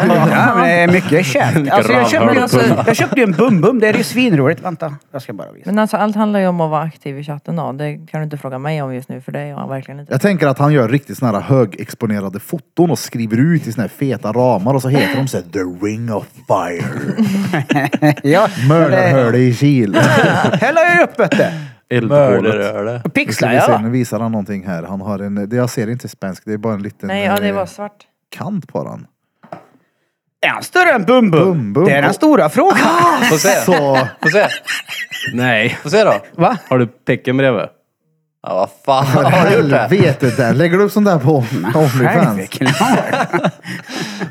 Ja, men det är mycket känt. Alltså, jag, köpte, ramhörd alltså, pump. jag köpte ju en bum-bum. Det är ju svinroligt. Vänta, jag ska bara visa. Men alltså allt handlar ju om att vara aktiv i chatten då. Det kan du inte fråga mig om just nu för det är jag verkligen inte. jag tänker att han gör riktigt såna här högexponerade foton och skriver ut i såna här feta ramar och så heter de så här, The Ring of Fire. Ja, Mördarhöle i Kil. Häll ju upp vet du. Eldhålet. Mördaröle. Pixlar vi se, ja. nu visar han någonting här. Han har en, det jag ser inte spansk, det är bara en liten Nej, ja det eh, var svart. kant på den. Är han större än Bum Bum Bum? Bum. Det är den stora frågan. Ah, Få se. Så, Få se. Nej. Få se då. Va? Har du pecken bredvid? Ja, vad fan för har du gjort det? helvete där. Lägger du upp sånt där på Onlyfans? Självklart.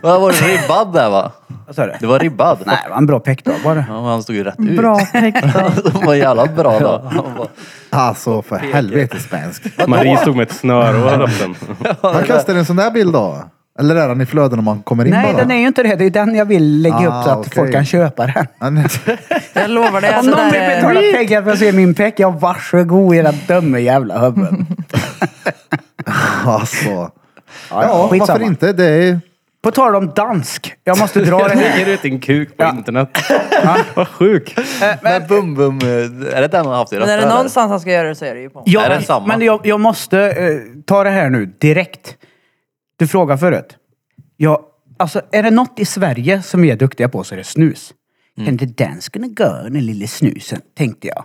Vad var det ribbad där va? Vad sa du? Det var ribbad. Nej, det var en bra pekdag var det. Ja, men han stod ju rätt ut. Bra pekta. De var jävla bra då. Han bara, Alltså för helvete spansk. Marie stod med ett snöre och höll upp den. Vad kastar en sån där bild då? Eller är den i flöden när man kommer in Nej, bara? den är ju inte det. Det är ju den jag vill lägga Ah, upp så att okej. folk kan köpa den. Den- Jag lovar dig. Om Alltså, någon där vill är- betala pengar för att se min peck, ja varsågod era dumma jävla hubben. Alltså. Ja, Ja, varför skitsamma. inte? Det är... På tal om dansk. Jag måste dra det Jag här. lägger ut din kuk på Ja. internet. Vad sjuk. Men bum bum, eh, är det den han haft i Men är rösten, det eller? någonstans han ska göra det så är det ju på Ja, Är den samma? men jag, jag måste eh, ta det här nu direkt. Du frågade förut. Jag, alltså, är det något i Sverige som vi är duktiga på så är det snus. Mm. Kan inte den skulle gå, den lille snusen, tänkte jag.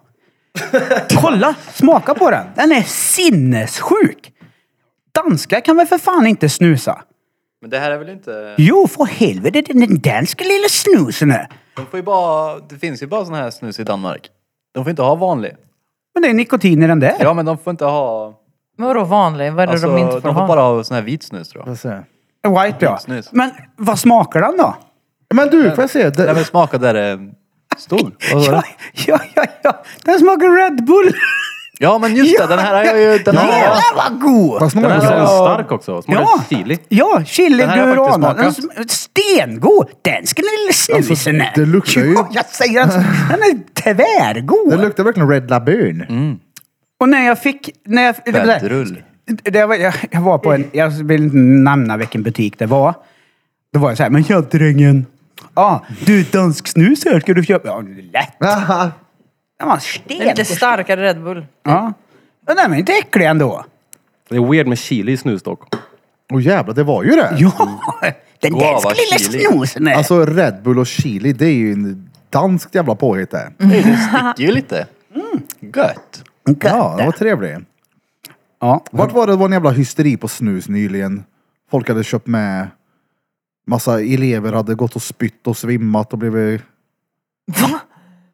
Kolla! Smaka på den! Den är sinnessjuk! Danskar kan väl för fan inte snusa? Men det här är väl inte... Jo, för helvete, den den danska lilla snusen är. De får ju bara... Det finns ju bara sån här snus i Danmark. De får inte ha vanlig. Men det är nikotin i den där. Ja, men de får inte ha... Men vadå vanlig? Vad är det Alltså, de inte får de får ha? bara ha sån här vit snus tror jag. Vad säger jag? White ja. Snus. Men vad smakar den då? Men du, får jag se? Nej Det, men smaka där det stod. Vad var Ja, det? ja, ja, ja. Den smakar Red Bull. Ja men just det, den här har jag ju... Den här, har jag- Jävlar vad god! fast någon Den gång är så- stark också. Smakar Ja. chili. Ja, chili, Den här har jag faktiskt guarana. Den smakat. sm- Stengod! Den ska den lilla snusen Alltså, det luktar ju- Ja, jag säger att den är det tvärgod! luktar verkligen Red Laboon. Mm. Och när jag fick... När jag, det var där- Vätrull. det var, jag, jag var på en... Jag vill inte nämna vilken butik det var. Då var jag så här, men ja drängen. Ja, ah, du dansk snus här ska du köpa. Ja, lätt. Aha. Den var Det är lite sten. starkare Red Bull. Ja. Men den var inte äcklig ändå. Det är weird med chili i snus dock. Åh jävlar, det var ju det. Ja, den Wow, danska vad lilla chili. snusen. är- Alltså Red Bull och chili, det är ju en danskt jävla påhitt det. Mm. sticker ju lite. Gött. Ja, det var trevligt. Ja. Vart var det det var en jävla hysteri på snus nyligen? Folk hade köpt med massa elever hade gått och spytt och svimmat och blivit...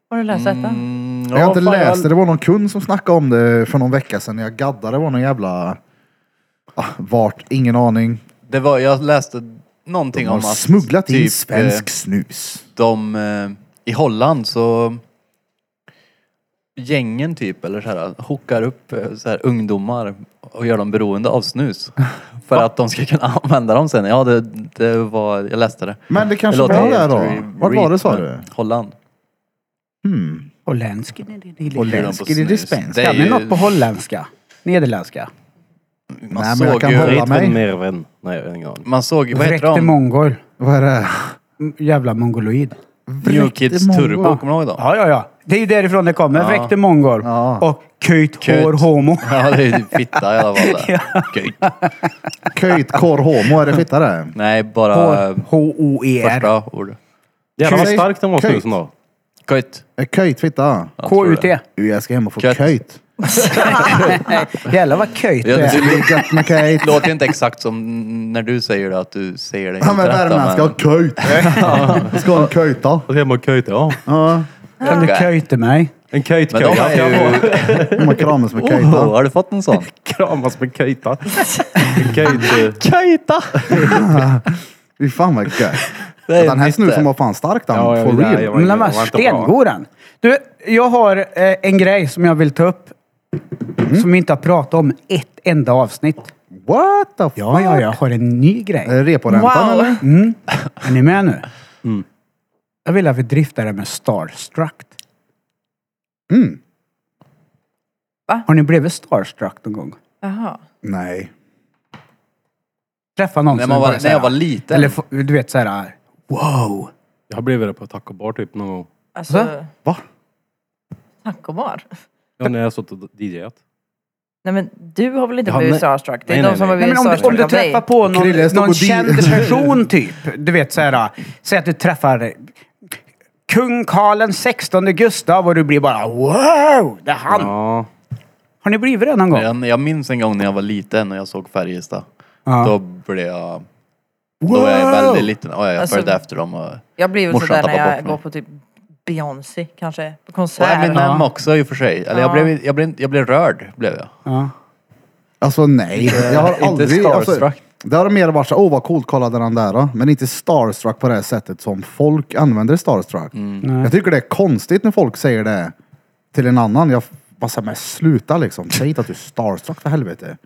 Har du läst detta? Mm, Jag har inte ja, fan, läst det, det var någon kund som snackade om det för någon vecka sedan när jag gaddade. Det var någon jävla... Ah, vart? Ingen aning. Det var, jag läste någonting De har om att... smugglat in typ, svensk eh, snus. De... eh, I Holland så... gängen typ, eller så här, hookar upp eh, så här, ungdomar och gör dem beroende av snus. För att de ska kunna använda dem sen. Ja, det, det var, jag läste det. Men det kanske låter var där då. helt re- Vart var det, sa men- du? Holland. Hmm. Holländska? Nej, det är lite- Holländska, det är det är det spanska. ju- Men något på holländska. Nederländska. Nej, Man men såg jag kan ju, hålla- Rit mig. men mer vän. Nej, jag har ingen aning. Man såg, vad heter Vräkte de? mongol. Vad är det? M- Jävla mongoloid. New Kids Mongol. Turbo, kommer du ihåg dem? Ja, ja, ja. Det är ju därifrån det kommer. Vräkte mongol. Ja. Och köjt Köjt. hår homo. Ja, det är ju fitta i alla fall. där. Gud. Köjt, korr, homo, är det fitta det? Nej, bara Hår. E eh, H-O-E-R. första ordet. Jävlar vad Köjt. stark den var Köjt. snusen då. Köjt. Är Köjt fitta? Ja, tror det. K-U-T. Jag ska hem och få Kött. köjt. Jävlar vad köjt Ja, det det är. Det är gött med köjt. Det låter ju inte exakt som när du säger det, att du säger det Ja helt men rätt. värmländska, men- ha köjt. Ska ha en köjta. Och hemma och köjt, ja. Ja, Kan du köjte mig? En köjt Men de köjt. är ju... man kramas med Oh, köjta. har du fått en sån? Kramas med köjta. En köjt. eh, Kajta! Fy fan vad gött. Det är eh, Den här lite- snusen var fan stark den. Ja, jag For vet, real. jag vet. Men den var det var inte stengod den. Du, jag har eh, en grej som jag vill ta upp. Mm. Som vi inte har pratat om ett enda avsnitt. What the fuck? Ja, ja, jag har en ny grej. Är det reporäntan Wow. eller? Mm. Är ni med nu? Mm. Jag vill att vi driftar det med starstruck. Mm. Va? Har ni blivit starstruck någon gång? Jaha. Nej. Träffa någon När, som man är var, bara så när här, jag var liten. Eller få- du vet så här. Wow! Jag har blivit det på taco bar typ någon gång. Alltså, Va? tacobar. Ja, när jag har suttit och DJat. Nej men du har väl inte Ja, blivit nej. starstruck? Det är Nej, de nej, som har nej. Nej, blivit men om, du, om starstruck du av dig. träffar på någon, Krille, jag står någon på di- känd person typ. Du vet så här. Säg att du träffar kung Karl XVI Gustav och du blir bara wow! Det är han! Ja. Har ni blivit det någon gång? jag, jag minns en gång när jag var liten och jag såg Färjestad. Ja. Då blev jag... Då var jag väldigt liten. Ja, jag Alltså- följde efter dem. Och, Jag blir väl Morsan sådär när tappar jag bort går mig. på typ Beyoncé kanske. På och konsert. Eminem också i och för sig. Eller jag, Ja. blev, jag, blev, jag blev rörd, blev jag. Ja. Alltså nej. Jag har Inte aldrig... Alltså, starstruck. det har mer varit så åh oh, vad coolt, kollade den där. då." Men inte starstruck på det här sättet som folk använder starstruck. Mm. Mm. Jag tycker det är konstigt när folk säger det till en annan. Jag bara säger, men sluta liksom. Säg inte att du är starstruck för helvete.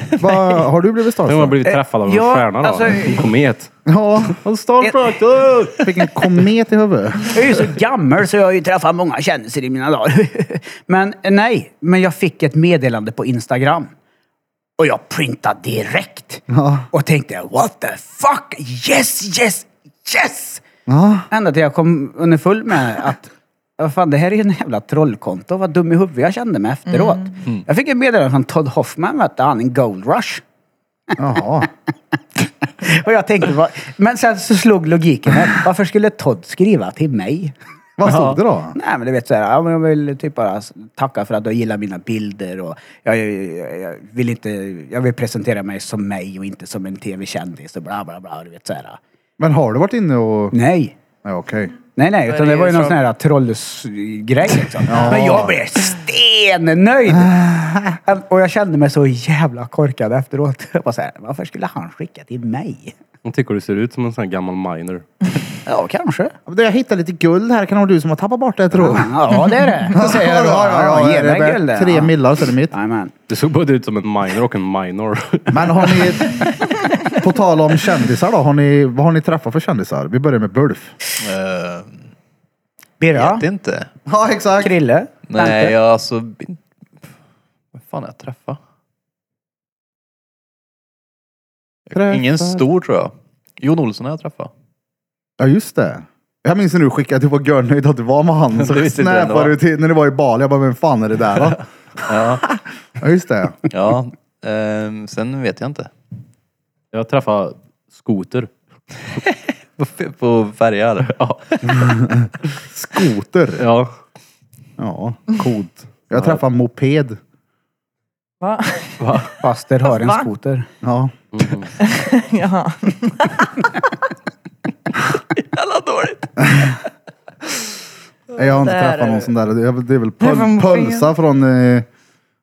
Va, har du blivit Tänk om man starstruck? blivit träffad av en Eh, ja, stjärna då. alltså- Eh. en komet. Ja, En starstruck! uh! fick en komet i huvudet. Jag är ju så gammal så jag har ju träffat många kändisar i mina dagar. Men nej, men jag fick ett meddelande på Instagram. Och jag printade direkt. Ja. Och tänkte what the fuck? Yes, yes, yes! Ja. Ända till jag kom underfull med att vad fan, det här är ju en jävla trollkonto. Vad dum i huvudet jag kände mig efteråt. Mm. Jag fick ett meddelande från Todd Hoffman, vet du, han, en Gold Rush. Jaha. Och jag tänkte, vad... men sen så slog logiken mig. Varför skulle Todd skriva till mig? Vad stod det då? Nej men du vet såhär, ja, men jag vill typ bara tacka för att du gillar mina bilder och jag, jag, jag vill inte, jag vill presentera mig som mig och inte som en tv-kändis och bla bla bla, du vet såhär. Men har du varit inne och... Nej. Nej, okej. Nej nej, Men utan det är det var ju ju någon så- sån här trollsgrej liksom. Men jag blev stennöjd! och jag kände mig så jävla korkad efteråt. Jag bara såhär, varför skulle han skicka till mig? Hon tycker du ser ut som en sån här gammal miner. Ja, kanske. Ja, men Jag hittade lite guld här. Kan det vara du som har tappat bort det, tror jag. Ja, det är det. Så säger jag då. ge mig det är guldet. Tre Ja. millar så är det mitt. Jajamän. Du såg både ut som en miner och en minor. Men har ni... På tal om kändisar då. Har ni, vad har ni träffat för kändisar? Vi börjar med Bulf. Eh, Birra? Vet inte. Ja, exakt. Krille? Nej, Dante? jag alltså... in- Vad fan har jag träffat? Träffat. Ingen stor tror jag. Jon Olsson har jag träffat. Ja, just det. Jag minns när du skickade att du var görnöjd att du var med han. Du Så visste inte vem det snäpade var. du till när du var i Bali. Jag bara, vem fan är det där då? Ja, Ja, just det. ja ehm, sen vet jag inte. Jag träffade Skoter. På, på färjar. Ja. Skoter. ja. Ja, Mm. coolt. Jag träffade moped. Va? Faster har en Va? skoter. Ja. Jaha. Jävla dåligt. Jag har inte Där träffat är någon du. sån där. Det är väl- det är väl Det är från pöl, Pölsa från... Eh,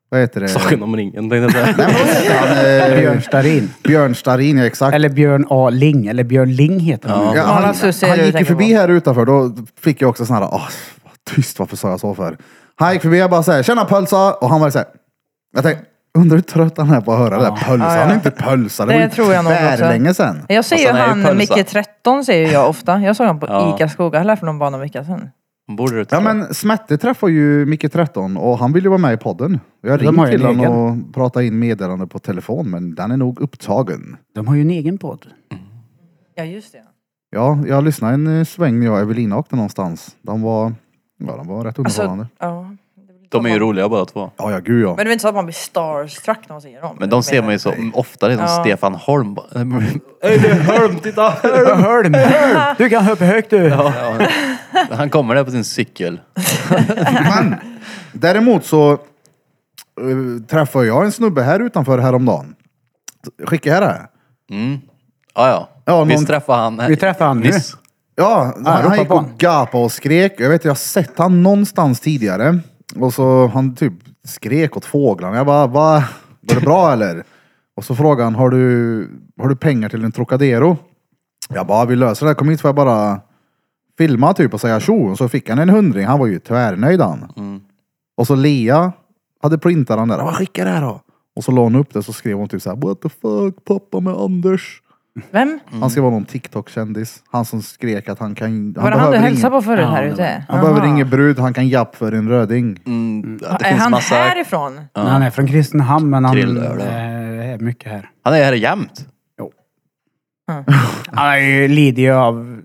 vad heter det? Saken om ringen. tänkte jag säga. Nej, men vad heter han? Björn Eh, Starin. Björn Starin, ja exakt. Eller Björn A. Ling. Eller Björn Ling heter han. Ja, han Mona Sussie är han det du gick ju tänker förbi på. här utanför, då fick jag också sån här, åh, vad tyst, varför sa jag så för? Han gick förbi, jag bara såhär, tjena pölsa! Och han var såhär, jag tänkte, undrar hur trött han är på att höra det där pölsa. Ja, ja. Han är inte pölsa, det, Det var ju tror jag nog också. länge sedan. Jag ser ju Fast han är ju han, pölsa. Micke 13 ser ju jag ofta. Jag såg honom på Ja. ICA Skogahäll här för någon barnvecka sedan. Borde du Ja tro. men Smette träffade ju Micke 13 och han ville ju vara med i podden. Jag har De har ringt ju en till honom egen. och pratat in meddelande på telefon men den är nog upptagen. De har ju en egen podd. Ja just det. Ja, jag lyssnade en eh, sväng när jag och Evelina åkte någonstans. De var, ja, de var rätt Alltså, underhållande. ja. De är ju roliga båda två. Ja, ja gud ja. Men det är inte så att man blir starstruck när man ser dem? Men de ser man ju så ofta, liksom Ja. Stefan Holm. Öj, det är Hölm, titta! Hörm, hörm. Du kan hoppa högt du. Ja. Han kommer där på sin cykel. Men däremot så eh, träffade jag en snubbe här utanför häromdagen. Skickade jag det? Mm. Ja, ja. Ja, vi någon- träffade han Vi träffade han nu. nyss. Ja, han, ropa gick på och han. gapade och skrek. Jag vet, jag har sett han någonstans tidigare. Och så han typ skrek åt fåglarna. Jag bara, va? Var det bra eller? Och så frågade han, har du, har du pengar till en Trocadero? Jag bara, vi löser det här. Kom hit får jag bara filma typ och säga tjo. Och så fick han en hundring. Han var ju tvärnöjd han. Och så Lea hade printat den där. Vad skicka det här då? Och så la hon upp det så skrev hon typ så här, what the fuck pappa med Anders. Vem? Han Mm. ska vara någon TikTok-kändis. Han som skrek att han kan... Var det han du behöver ingen- hälsade på förut Ja, här det ute? Han behöver ingen brud, han kan japp för en röding. Mm, det Är finns han massa... härifrån? Men Han är från Kristinehamn men han Krill, eh, eller? är mycket här. Han är här jämt. Han är ju- lider ju av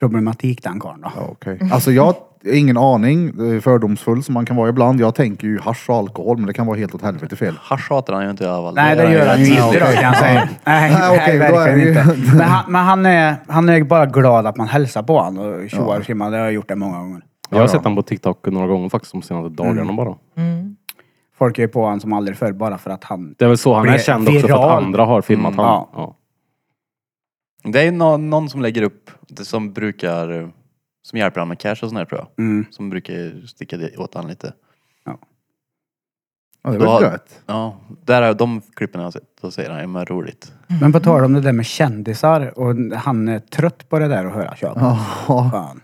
problematik den karln då. Ja, okej. Alltså jag har ingen aning, det är fördomsfull som man kan vara ibland. Jag tänker ju hasch och alkohol, men det kan vara helt åt helvete fel. Hasch hatar han ju inte i alla fall. Nej, det gör han ju inte då kan jag säga. Nej, Nej, nej, okej, då är verkligen vi- inte. Men, han, men han, är, han är bara glad att man hälsar på honom och tjoar och tjimmar. Det har jag gjort det många gånger. Jag har sett han på TikTok några gånger faktiskt de senaste dagarna bara. Mm. Folk är ju på honom som aldrig förr bara för att han... Det är väl så han är Blir känd också för viral. att andra har filmat Mm, han. ja. Ja. Det är ju någon, någon som lägger upp, det som brukar, eh, som hjälper han med cash och sånt där tror jag. Mm. Som brukar sticka det åt han lite. Ja, det Då var har- gött. Ja, där är de klippen jag har sett. Då säger han ju men roligt. Men på tal om det där med kändisar och han är trött på det där att höra tjat. Ja. Fan.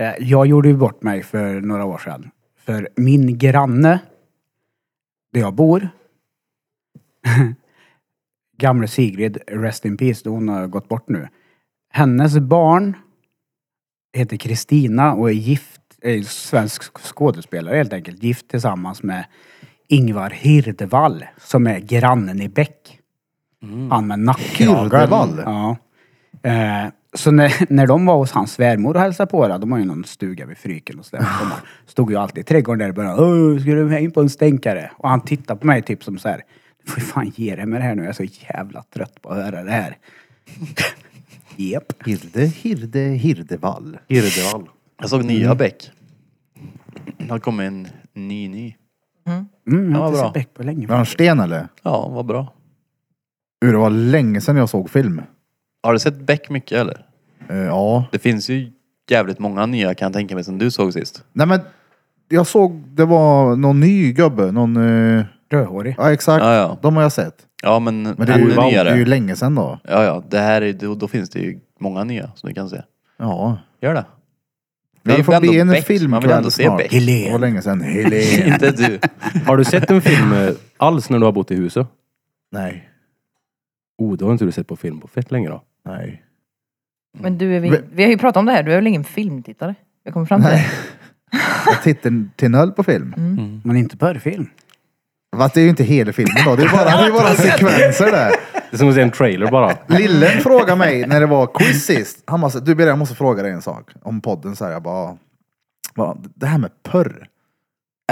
Eh, Jag gjorde ju bort mig för några år sedan. För min granne, där jag bor, gamle Sigrid, rest in peace, hon har gått bort nu. Hennes barn heter Kristina och är gift, är svensk sk- skådespelare helt enkelt, gift tillsammans med Ingvar Hirdevall som är grannen i Bäck. Han med nackkragen. Mm. Hirdevall? Ja. Eh, så när, när de var hos hans svärmor och hälsade på, då, de har ju någon stuga vid Fryken och sådär. De bara stod ju alltid i trädgården där och började Åh, ska du med in på en stänkare? Och han tittade på mig typ som så här. Du får ju fan ge dig med det här nu, jag är så jävla trött på att höra det här. Jep. Hirde, Hirde, Hirdevall. Hirdevall. Jag såg Mm. nya Beck. Det har kommit en ny ny. Mm, jag Ja, har inte bra. sett Beck på länge. Var han sten eller? Ja, vad bra. Ur, det var länge sedan jag såg film. Har du sett Beck mycket eller? Eh, ja. Det finns ju jävligt många nya kan jag tänka mig som du såg sist. Nej men, jag såg, det var någon ny gubbe, någon... eh, Rödhårig. ja exakt, Ja, ja. de har jag sett. Ja men, Men det är, ju, ännu det är nyare. ju länge sedan då. Ja ja, det här är, då, då finns det ju många nya som du kan se. Ja. Gör det. Det, ju får ändå bli en Beck. Man vill filmkväll ändå se snart. Beck. Helene. Det var länge sedan. Helene. Inte du. Har du sett en film eh, alls när du har bott i huset? Nej. Oh, då har inte du sett på film på fett länge då. Nej. Men du, är vi, Vem? vi har ju pratat om det här. Du är väl ingen filmtittare? Jag kommer fram till det. Jag tittar till noll på film. Men inte porrfilm. Fast det är ju inte hela filmen då. Det är bara, det är bara sekvenser där. Det är som att se en trailer bara. Lillen frågade mig när det var quiz sist. Han bara, så här, du Birre, jag måste fråga dig en sak om podden. Så här, jag bara, bara, det här med porr.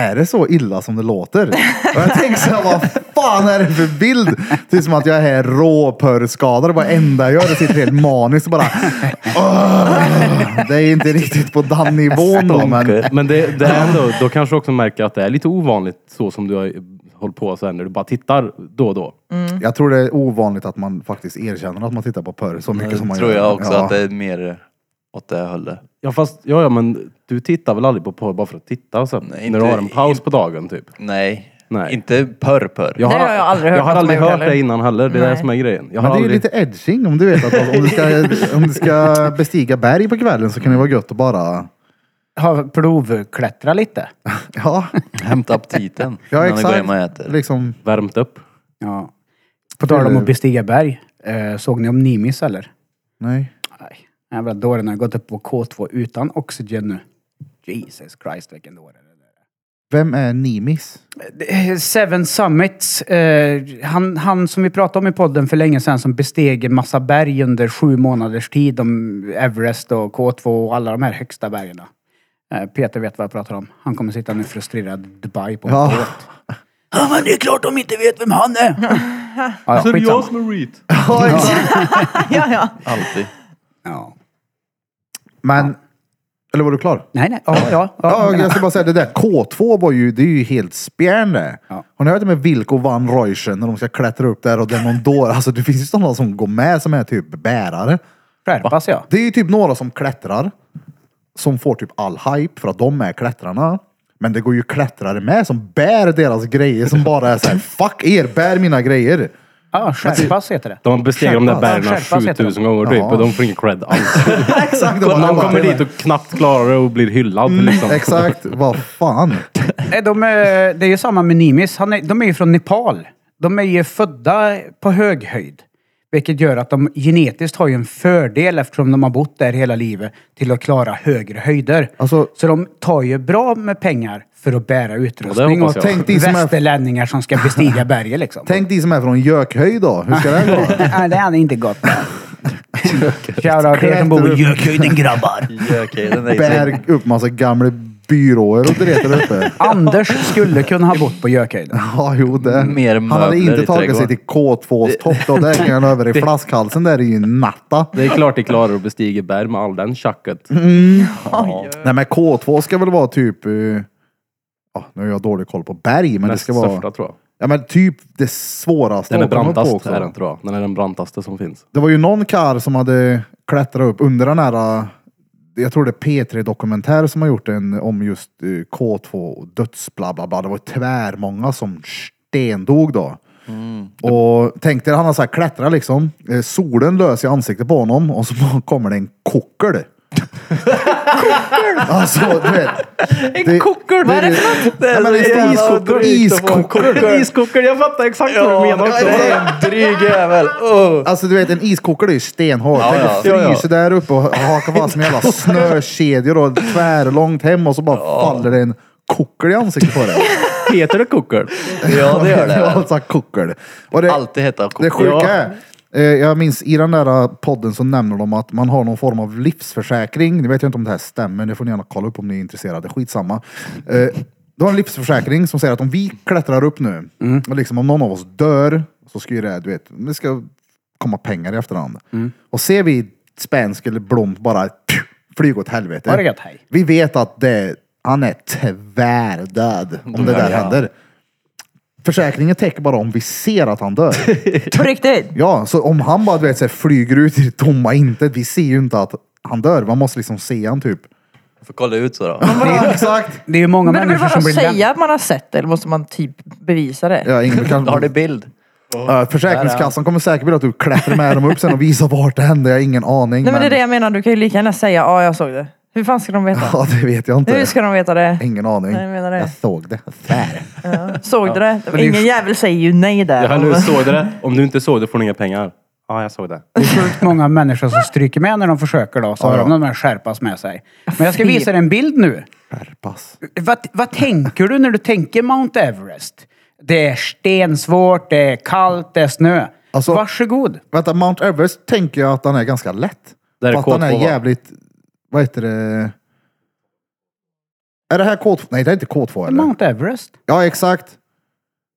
Är det så illa som det låter? Och jag tänkte så här, vad fan är det för bild? Det är som att jag är här råpörrskadad. Vad enda jag gör är att sitta helt maniskt och bara... "Åh." det är inte riktigt på den nivån då, men... Men det, det är ändå, då kanske du också märker att det är lite ovanligt så som du har eh, hållit på så här när du bara tittar då och då. Jag tror det är ovanligt att man faktiskt erkänner att man tittar på porr så mycket som man tror gör. jag också Ja. att det är mer åt det hållet. Ja fast, ja, ja men du tittar väl aldrig på porr bara för att titta sen? Nej, när inte- du har en paus på dagen typ? Nej. Nej. Inte pörr pörr. Jag Det har jag aldrig hört Jag har någon som aldrig har gjort hört heller. det innan heller. Det är det Nej. som är grejen. Jag har Men det är ju aldrig... lite edging om du vet att om du, ska, om du ska bestiga berg på kvällen så kan det vara gött att bara har provklättrat lite. Ja, Hämta aptiten ja innan vi går hem och exakt. äter. Liksom, Värmt upp. Ja. På tal om att bestiga berg. Eh, såg ni om Nimis eller? nej. Nej. Jävla dåren har gått upp på K2 utan oxygen nu. Jesus Christ vilken dåre. Vem är Nimis? Eh, Seven Summits. Eh, han, han som vi pratade om i podden för länge sedan som besteg en massa berg under sju månaders tid. Om Everest och K2 och alla de här högsta bergen. Eh, Peter vet vad jag pratar om. Han kommer sitta nu frustrerad i Dubai på en Ja. båt. Ja men det är klart de inte vet vem han är! ja, ja, skitsamma. som är reet. ja, ja. Alltid. Ja. Men, eller var du klar? Nej, nej. Ja, ja. ja, Ja, jag ska bara säga det där K2 var ju, det är ju helt spjärn det. Ja. Har ni hört det med Wilco van Reuschen när de ska klättra upp där och det är någon dåre? Alltså det finns ju sådana som går med som är typ bärare. Skärpas ja. Det är ju typ några som klättrar. Som får typ all hype för att de är klättrarna. Men det går ju klättrare med som bär deras grejer som bara är såhär fuck er, bär mina grejer. Ja, skärpas heter det. De bestiger de där Skärpas. bergen Skärpas heter 7000 gånger typ Ja. och de får ingen cred alls. Exakt. det var- Man kommer dit och knappt klarar det och blir hyllad liksom. Exakt, vad fan. Nej, de är, det är ju samma med Nimis. Han är, de är ju från Nepal. De är ju födda på hög höjd. Vilket gör att de genetiskt har ju en fördel eftersom de har bott där hela livet till att klara högre höjder. Alltså- så de tar ju bra med pengar för att bära utrustning hoppas och jag. Tänk dig som är- västerlänningar som ska bestiga berget liksom. Tänk de som är från Gökhöjd då, hur ska det gå? Nej, det hade inte gått. Shoutout till er som bor i Gökhöjden grabbar. Okej, den är Bär upp massa gamla byråer och dreter där uppe. Anders skulle kunna ha bott på Gökhöjden. Ja, jo det. Mer Han hade möbler i inte tagit sig trädgården. till K2s topp då. Där kan han över i flaskhalsen där i natta. Det är klart de klarar att bestiga berg med all den tjacket. Mm. Nej men K2 ska väl vara typ... eh, Ja, nu har jag dålig koll på berg, men det Mest ska vara... största tror jag. Ja men typ det svåraste Den är att komma på brantast också. är den tror jag. Den är den brantaste som finns. Det var ju någon kar som hade klättrat upp under den här... eh, Jag tror det är P3 Dokumentär som har gjort en om just eh, K2 och döds bla bla bla. Det var tvärmånga som stendog då. Och tänk dig, han har så här klättrat liksom. Eh, Solen löser i ansiktet på honom och så kommer det en kockel. Alltså, du vet. En kockel, vad är det för något? Nej, men en iskockel. Iskockel. Iskokare, jag fattar exakt vad du menar. Det är en dryg jävel. Oh. Alltså du vet en iskokare är ju stenhård. Ja, Tänk ja. att frysa där uppe och haka fast med jävla snökedjor och tvärlångt hem och så bara faller det en kokel i ansiktet på dig. Heter det kokar? Ja, det gör det. väl. Alltså kokel. Och det, Alltid heta det kokor. sjuka är, eh, jag minns i den där eh, podden så nämner de att man har någon form av livsförsäkring. Nu vet jag inte om det här stämmer, det får ni gärna kolla upp om ni är intresserade. Skitsamma. Eh, Du har en livsförsäkring som säger att om vi klättrar upp nu, Mm. och liksom om någon av oss dör, så ska ju det, du vet, det ska komma pengar i efterhand. Mm. Och ser vi Spänsk eller Blom bara pju, flyga åt helvete. Har det gött, hej. Vi vet att det, han är tvärdöd Mm. om det där händer. Försäkringen täcker bara om vi ser att han dör. På riktigt? Ja, så om han bara du vet, så här, flyger ut i det tomma intet, vi ser ju inte att han dör. Man måste liksom se han typ. Får kolla ut så då. Ja, exakt! Det är ju många Men det är människor bara som att blir vän- säga att man har sett det, eller måste man typ bevisa det? Ja, ingen, Har kan, du bild? äh, försäkringskassan kommer säkert vilja att du klättrar med dem upp sen och visar vart det hände. Jag har ingen aning. Nej men det är det jag menar, du kan ju lika gärna säga ja jag såg det. Hur fan ska de veta? Ja, det vet jag Hur inte. ska de veta det? Ingen aning. Nej, jag menar det. jag såg det. Där. Såg du det? är ju- Ingen jävel säger ju nej Jag där. har nu såg du det. Om du inte såg det får du inga pengar. Ja, jag såg det. Det är sjukt många människor som stryker med när de försöker då. Så har de de här skärpas med sig. Men jag ska Fy. visa dig en bild nu. Skärpas. Vad, vad tänker du när du tänker Mount Everest? Det är stensvårt, det är kallt, det är snö. Alltså- Varsågod. Vänta, Mount Everest tänker jag att han är ganska lätt. Där är För att han är K2, va? jävligt... Vad heter det? Är det här K2? Nej, det är inte K2 eller? Mount Everest. Ja, exakt.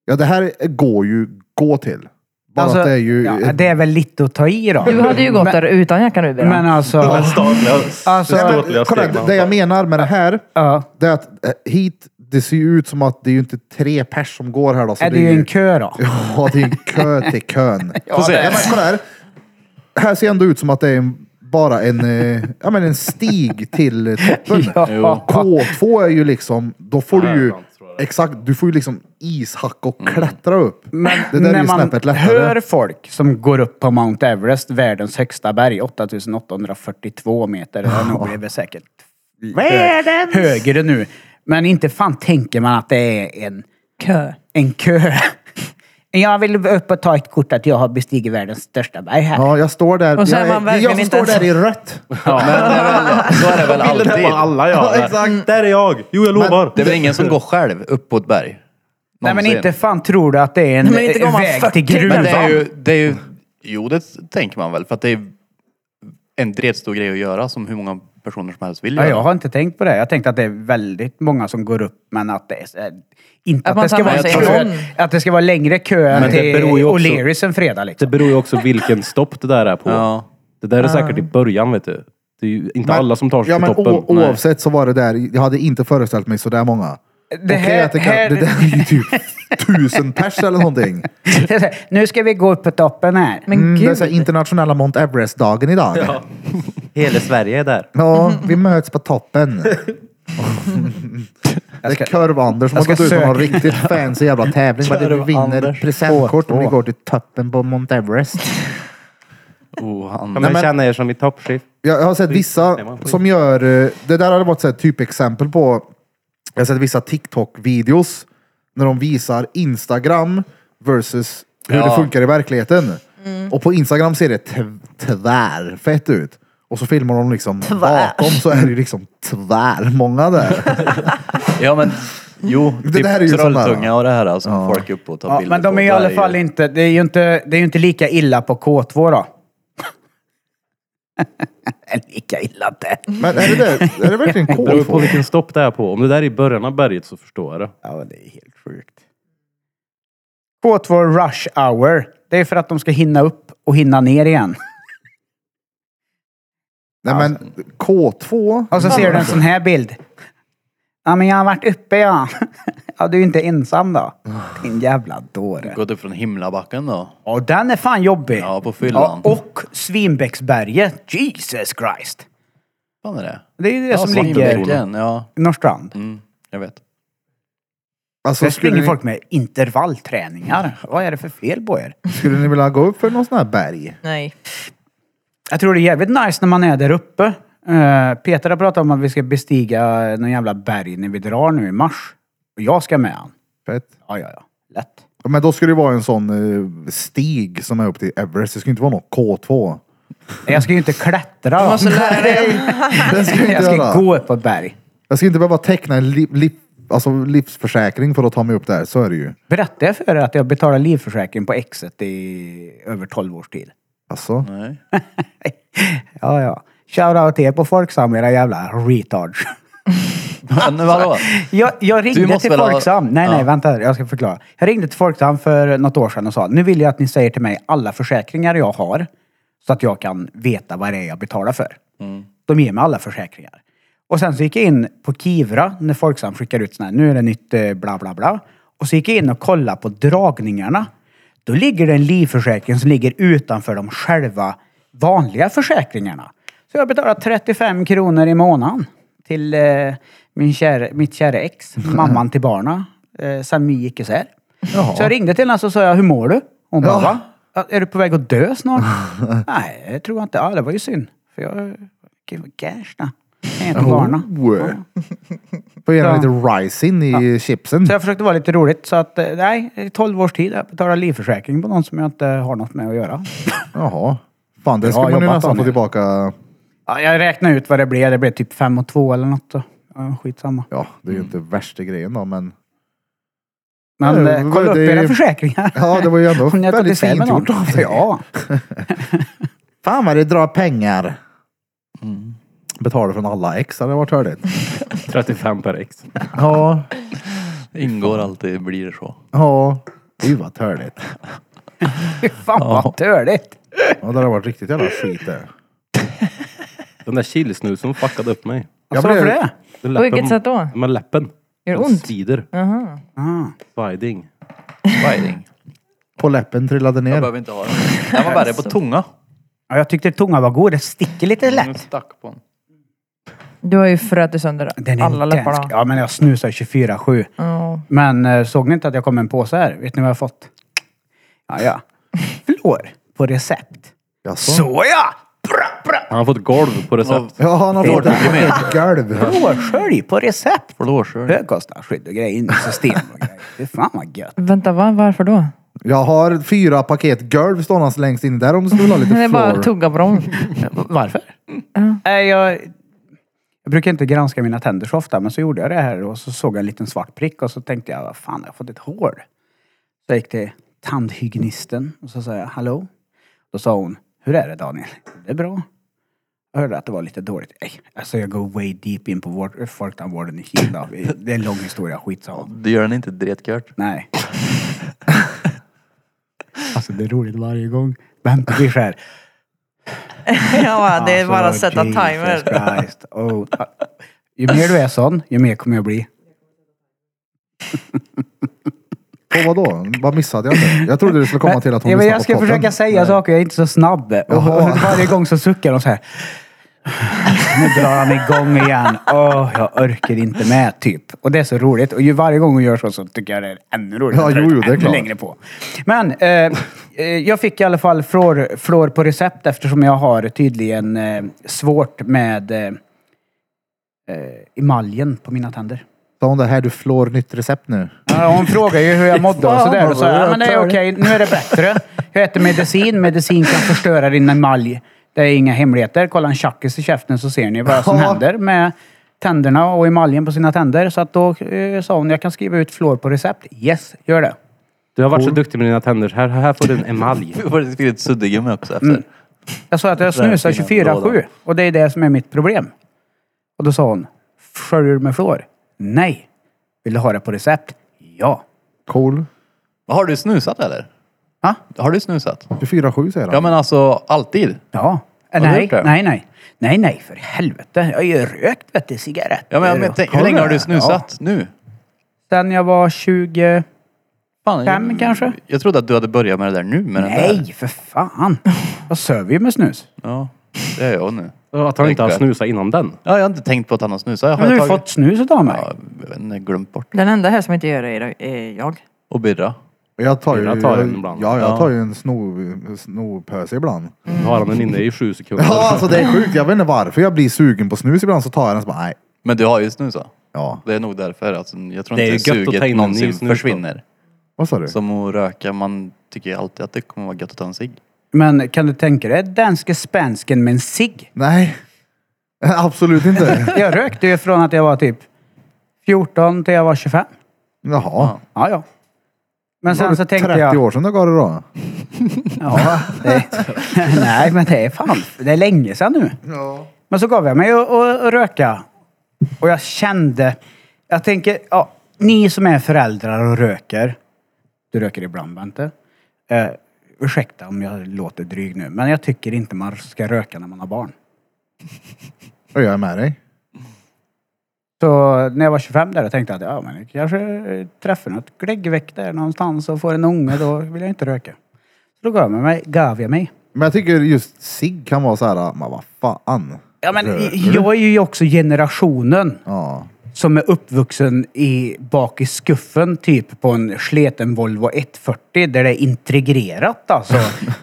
Ja, det här går ju gå till. Bara Alltså, att det är ju... ja, det är väl lite att ta i då. Du hade ju gått men, där utan jackan nu Men Bira. alltså... alltså Nej, men, Ståtliga kolla, steg man det jag tar. menar med det här, ja. det är att eh, hit, det ser ju ut som att det är ju inte tre pers som går här då. Så Är det ju en kö då? Ja, det är en kö till kön. Får se. Ja, men kolla här. Här ser ändå ut som att det är en, bara en, eh, ja, men en stig till eh, toppen. Ja. K2 är ju liksom, då får du ju, sant, tror jag. exakt, du får ju liksom ishacka och klättra upp. Men det där är när ju man snäppet lättare. hör folk som går upp på Mount Everest, världens högsta berg, 8842 meter, det har nog blivit säkert Världens! högre nu. Men inte fan tänker man att det är en, Kö. en kö. Jag vill upp och ta ett kort att jag har bestigit världens största berg här. Ja, jag står där. Och så är jag, man det är jag verkligen som inte står där i ens- rött. Så är det väl alltid. alla ja. exakt. Där är jag. Jo, jag lovar. Det är väl ingen som går själv upp på ett berg? Nej men Någonsin. inte fan tror du att det är en Nej, men inte går eh, man väg 40. till gruvan. Men det är ju, det är ju, jo det tänker man väl för att det är en dretstor grej att göra som hur många personer som helst vill Ja, göra. jag har inte tänkt på det. Jag tänkte att det är väldigt många som går upp men att det är, så här- Att inte att, man det ska samlar vara sig kö, igång. att det ska vara längre kö än Men det till beror ju också- O'Learys en fredag Det liksom. beror ju också vilken stopp det där är på. Ja. Det där är säkert i början, vet du. Det är ju inte alla som tar sig ja, till men toppen. o- Oavsett så var det där. Jag hade inte föreställt mig så där många. Det Det, här- här, att det, kan, här- det där är ju typ tusen pers eller någonting. nu ska vi gå upp på toppen här. Men Mm, det är gud. så här internationella Mount Everest-dagen idag. Ja. Hela Sverige är där. vi möts på toppen. Det är Kurv-Anders som har ska gått ut på någon söka. riktigt fancy jävla tävling. Men du vinner Kurv-Anders. presentkort om Åh, ni åh. går till toppen på Mount Everest. Oh, han, Kan man men- känna er som i toppskift? Jag jag har sett Nej, vissa man får- som gör... eh, Det där hade varit ett typexempel på... Jag har sett vissa TikTok-videos när de visar Instagram versus hur Ja. det funkar i verkligheten. Och på Instagram ser det t- tvärfett ut. Och så filmar de liksom bakom så är det liksom tvärmånga där. ja men jo, Det typ där är ju sån där- Trolltunga och det här som folk är uppe och tar Ja, bilder men de på. är ju i Det alla ju- fall inte, det är ju inte, det är ju inte lika illa på K2 då. lika illa inte. Men är det, där, är det verkligen Det beror på K2? vilken stopp det är på. Om det där är i början av berget så förstår jag det. Ja, det är helt sjukt. K2 Rush Hour, det är för att de ska hinna upp och hinna ner igen. Nej men K2? Och så ser du en sån här bild. Ja, men jag har varit uppe ja. Ja, du är ju inte ensam då. Din jävla dåre. Gått upp från himlabacken då. Ja, den är fan jobbig. Ja, på fyllan. Ja, och Svinbäcksberget. Jesus Christ. Fan är det? Det är ju det Ja, som som ligger... himlabacken, Ja, Norrstrand. mm, jag vet. Alltså, skulle, Där springer ni, folk med intervallträningar. Vad är det för fel på er? skulle ni vilja gå upp för någon sån här berg? Nej. Jag tror det är jävligt nice när man är där uppe. Eh, Peter har pratat om att vi ska bestiga någon jävla berg när vi drar nu i mars. Och jag ska med han. Fett. Ja, ja, ja. Lätt. Ja, Men då skulle det vara en sån eh, stig som är upp till Everest. Det skulle inte vara någon K2. Nej, Jag ska ju inte klättra då. måste lära dig. Den ska jag Jag inte ska göra. gå upp på ett berg. Jag ska inte behöva teckna en li, li, alltså livsförsäkring för att ta mig upp där. Så är det ju. Berättade jag för er att jag betalar livförsäkring på Exet i över 12 års tid? Alltså. Nej. Ja, ja. Shoutout till er på Folksam, era jävla retards. Men Alltså. vadå? Jag, jag Du ringde måste till väl ha- Folksam. Nej, nej, Ja. vänta. Jag ska förklara. Jag ringde till Folksam för något år sedan och sa, nu vill jag att ni säger till mig alla försäkringar jag har. Så att jag kan veta vad det är jag betalar för. Mm. De ger mig alla försäkringar. Och sen så gick jag in på Kivra, när Folksam skickar ut sådana här, nu är det nytt eh, bla bla bla. Och så gick jag in och kollade på dragningarna. Då ligger det en livförsäkring som ligger utanför de själva vanliga försäkringarna. Så jag betalar 35 kronor i månaden till eh, min kära, mitt kära ex, mamman till barna, eh, sen vi gick isär. Jaha. Så jag ringde till henne och så sa jag, hur mår du? Hon bara, Ja. va? Ja, Är du på väg att dö snart? Nej, det tror jag inte. Ja, det var ju synd. För jag kan ju cash då. Kan jag till barna. Oh. Får gärna lite ricin i chipsen. Så jag försökte vara lite roligt. Så att, eh, nej, i 12 års tid har jag betalat livförsäkring på någon som jag inte har något med att göra. Jaha. Fan, det Bra ska man ju jobbat, nästan få Daniel. tillbaka. Ja, jag räknade ut vad det blev. Det blev typ 5 och 2 eller något. Så. Ja, skitsamma. Ja, det är ju inte Mm. värsta grejen då, men. Men Ja, eh, vad- kolla upp det- era försäkringar. Ja, det var ju ändå Om ni har tagit väldigt isär med fint någon. gjort av dig. Ja. Fan vad det drar pengar. Mm. Betala från alla ex hade varit hörligt. 35 per ex. Ja, Ingår alltid, blir det så. ja. Gud vad törligt. Fy fan Ja. vad törligt. Ja, det hade varit riktigt jävla skit det. Den där chilsnusen fuckade upp mig. Alltså, blev- varför det? Den På läppen- vilket sätt då? Med läppen. Gör det Den ont? Svider. Ah. Sviding. Wiring. På läppen trillade Jag ner. behöver inte ha den. Den var värre på Alltså. tunga. Ja, jag tyckte tungan var god. Det sticker lite Mm. Den lätt. stack på en. Du har ju frutit sönder Den är alla intensk. läpparna. Ja, men jag snusar 24-7. Ja. Men eh, såg ni inte att jag kom med en påse här? Vet ni vad jag har fått? Ja, ja. Flår på recept. Jaså? Såja! Bra, Han har fått golv på recept. Ja, han har fått ett golv. Blåskölj på recept. Blåskölj. Högkostnadsskydd och grejer in i system och grejer. Det är fan vad gött. Vänta, va? varför då? Jag har fyra paket golv ståndandes längst in där om du skulle vilja ha lite Det är bara floor. tugga på dem. Varför? jag, jag brukar inte granska mina tänder så ofta, men så gjorde jag det här och så såg jag en liten svart prick och så tänkte jag, vad fan, jag har fått ett hål. Så jag gick till tandhygienisten och så sa jag, hallå? Då sa hon, hur är det Daniel? Det är bra. Jag hörde att det var lite dåligt. Ej, alltså jag går way deep in på vår- folktandvården i Kina. Det är en lång historia, skit sa hon. Det gör den inte dretkört. Nej. alltså det är roligt varje gång. Vänta, vi skär. Ja, det är bara att Alltså, sätta Jesus timer. Christ. Oh. Ju mer du är sån, ju mer kommer jag bli. Och vadå? Vad missade jag nu? Jag trodde du skulle komma till att hon ja, men lyssnar jag på ska podden. försöka säga saker, jag är inte så snabb. Och Jaha. varje gång så suckar de så här. Nu drar han igång igen. Åh, jag orkar inte med, typ. Och det är så roligt. Och ju varje gång hon gör så, så tycker jag det är ännu roligare. Ja, Jag drar jo, ut jo, det är ännu klart. längre på. Men, eh, eh, jag fick i alla fall flår, flår på recept eftersom jag har tydligen eh, svårt med eh, eh, emaljen på mina tänder. Sa hon det här, du flår nytt recept nu? Ja, hon frågade ju hur jag mådde och sådär. Och så, ja, men det är okej, nu är det bättre. Jag äter medicin, medicin kan förstöra din emalj. Det är inga hemligheter. Kolla en tjackis i käften så ser ni vad som Ja. händer med tänderna och emaljen på sina tänder. Så att då eh, sa hon, jag kan skriva ut fluor på recept. Yes, gör det. Du har varit så duktig med dina tänder. Här, här får du en emalj. Vi har faktiskt skrivit suddgummi också efter. Jag sa att jag snusar Verkligen, då, då. 24-7 och det är det som är mitt problem. Och då sa hon, sköljer du med fluor? Nej. Vill du ha det på recept? Ja. Cool. Har du snusat eller? Ha? Har du snusat? 24-7 säger han. Ja men alltså alltid. Ja. du Nej, gjort det? nej, nej. Nej, nej, för helvete. Jag har ju rökt vet du, cigaretter. Ja, men, men, och tänk, hur länge har korv. du snusat nu? Ja. Sen jag var 20... Fan, Fem, jag, kanske? Jag trodde att du hade börjat med det där nu med den där. Nej, för fan. Jag söver ju med snus. Ja, det är jag nu. Att han inte har snusat innan den. Ja, jag har inte tänkt på att han har snusat. Jag har Men du har ju tagit- fått snuset av mig. Ja, jag vet inte, glömt bort. Den enda här som inte gör det är- är jag. Och birra. Jag tar ju, Jag tar en ibland. Ja, jag Ja. tar ju en sno, snopöse ibland. Då har han den inne i sju sekunder. Ja, alltså det är sjukt. Jag vet inte varför jag blir sugen på snus ibland så tar jag den så bara, nej. Men du har ju snusat. Ja, Det är nog därför. Alltså, jag tror Det är inte ju gött att ta in suget en ny någonsin snus då. försvinner. vad sa du? Som att röka. Man tycker ju alltid att det kommer vara gött att ta en cigg. Men kan du tänka dig danske spansken med en cigg? Nej. Absolut inte. Jag rökte ju från att jag var typ 14 till jag var 25. Jaha. Ja, ja. Men sen så tänkte 30 jag... år sedan du gav det då? Ja, det, nej, men det är fan, det är länge sedan nu. Men så gav jag mig att- att att röka. Och jag kände, jag tänker, ja, ni som är föräldrar och röker. Du röker ibland Bente. Eh, ursäkta om jag låter dryg nu, men jag tycker inte man ska röka när man har barn. Och jag är med dig. Så när jag var 25 där, jag tänkte att ja, men jag kanske eh, träffar något gläggväck där någonstans och får en unge, då vill jag inte röka. Så då gav jag mig. Gav jag mig. Men jag tycker just cigg kan vara så här, men vad fan. Ja, men Röker du? jag är ju också generationen Ja. som är uppvuxen i, bak i skuffen typ på en sleten Volvo 140 där det är integrerat alltså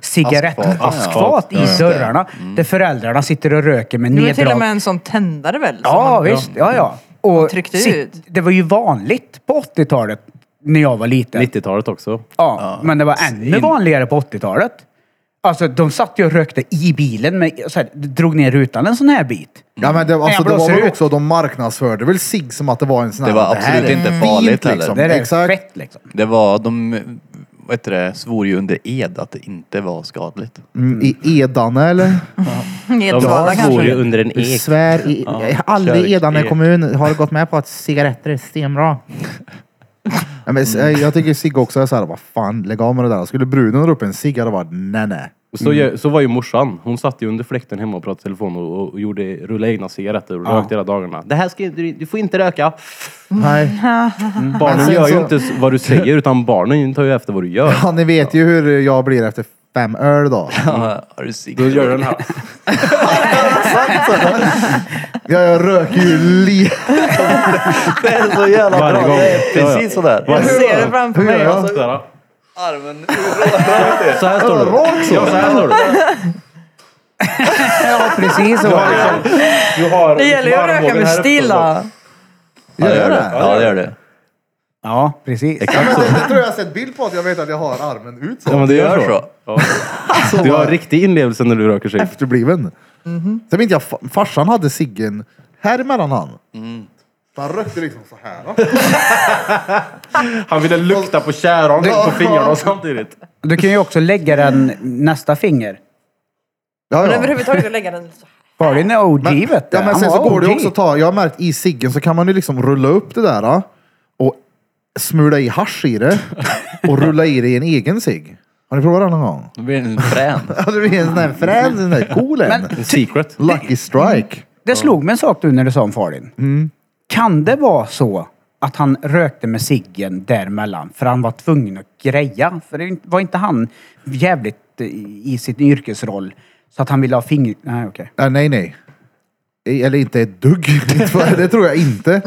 cigarettaskfat Askfat, ja. i Just det. Mm. dörrarna. Där föräldrarna sitter och röker med Du är till och neddrag. med en sån tändare väl? som Ja man- visst, ja ja. Och tryckte sit- ut. Det var ju vanligt på 80-talet när jag var liten. 90-talet också. Ja, men det var ännu vanligare på 80-talet. Alltså de satt ju och rökte i bilen med, så här, drog ner rutan en sån här bit. Ja men det, alltså, jag det var blåser väl ut. också, de marknadsförde väl cigg som att det var en sån här. Det var här absolut är inte fint, farligt heller. liksom. Det är Exakt. fett liksom. Det var, de vad heter det, svor ju under ed att det inte var skadligt. Mm, I Edane eller? De Nedvalda bor ju kanske. under en ek. Svär i, alla kärlek i Edane är- kommun har gått med på att cigaretter är stenbra. ja, men, s- eh, Jag tycker cigg också är såhär, vad fan, lägg av med det där. Skulle bruden dra upp en cigg hade det varit nej nej. Så, ju- så var ju morsan. Hon satt ju under fläkten hemma och pratade i telefon och, och gjorde, rullade egna cigaretter och rökte hela dagarna. Det här ska, du, du får inte röka. Mm. Nej. Men Barnen sen gör ju så- inte s- vad du säger utan barnen tar ju efter vad du gör. Ja, ni vet ju hur jag blir efter fem öl då. Ja, har du cigg? Då gör du den här. Ja, jag röker ju li... Det är så jävla Varje bra. gång. Det är Ja, ja. precis sådär. Jag ser det framför Hur gör mig. Alltså, jag? Så här, Armen så här står du. Rakt så. Ja, så här står du. Precis så. Du har Det gäller ju att röka marmorn med här uppe stil då. Ja, det gör det. Ja, Ja, det gör det. Ja, precis. Exakt så. Det tror jag har sett bild på att jag vet att jag har armen ut Ja, så. men det Gör gör så. så. Du har riktig inlevelse när du röker sig. Efterbliven. Sen vet jag, fa- farsan hade ciggen här emellan han. Han Mm. rökte liksom så här. va? Han ville lukta på käran på fingrarna samtidigt. Du kan ju också lägga den nästa finger. Ja, Men ja. överhuvudtaget att lägga den så här. Var det en OG Men- vet du? Ja, men Han sen var så går det OG. också att ta, jag har märkt i ciggen så kan man ju liksom rulla upp det där ah, och smula i hasch i det och rulla i det i en egen cigg. Har ni provat det någon gång? Då blir den frän. Ja, det blir en sån där frän, en sån där cool en. En secret. Lucky strike. Det slog mig en sak du när du sa om Farin. Mm. Kan det vara så att han rökte med ciggen däremellan för han var tvungen att greja? För det var inte han jävligt i- i sin yrkesroll så att han ville ha finger... Nej, okej. Äh, nej, nej. I- Eller inte ett dugg. Det tror jag- det tror jag inte.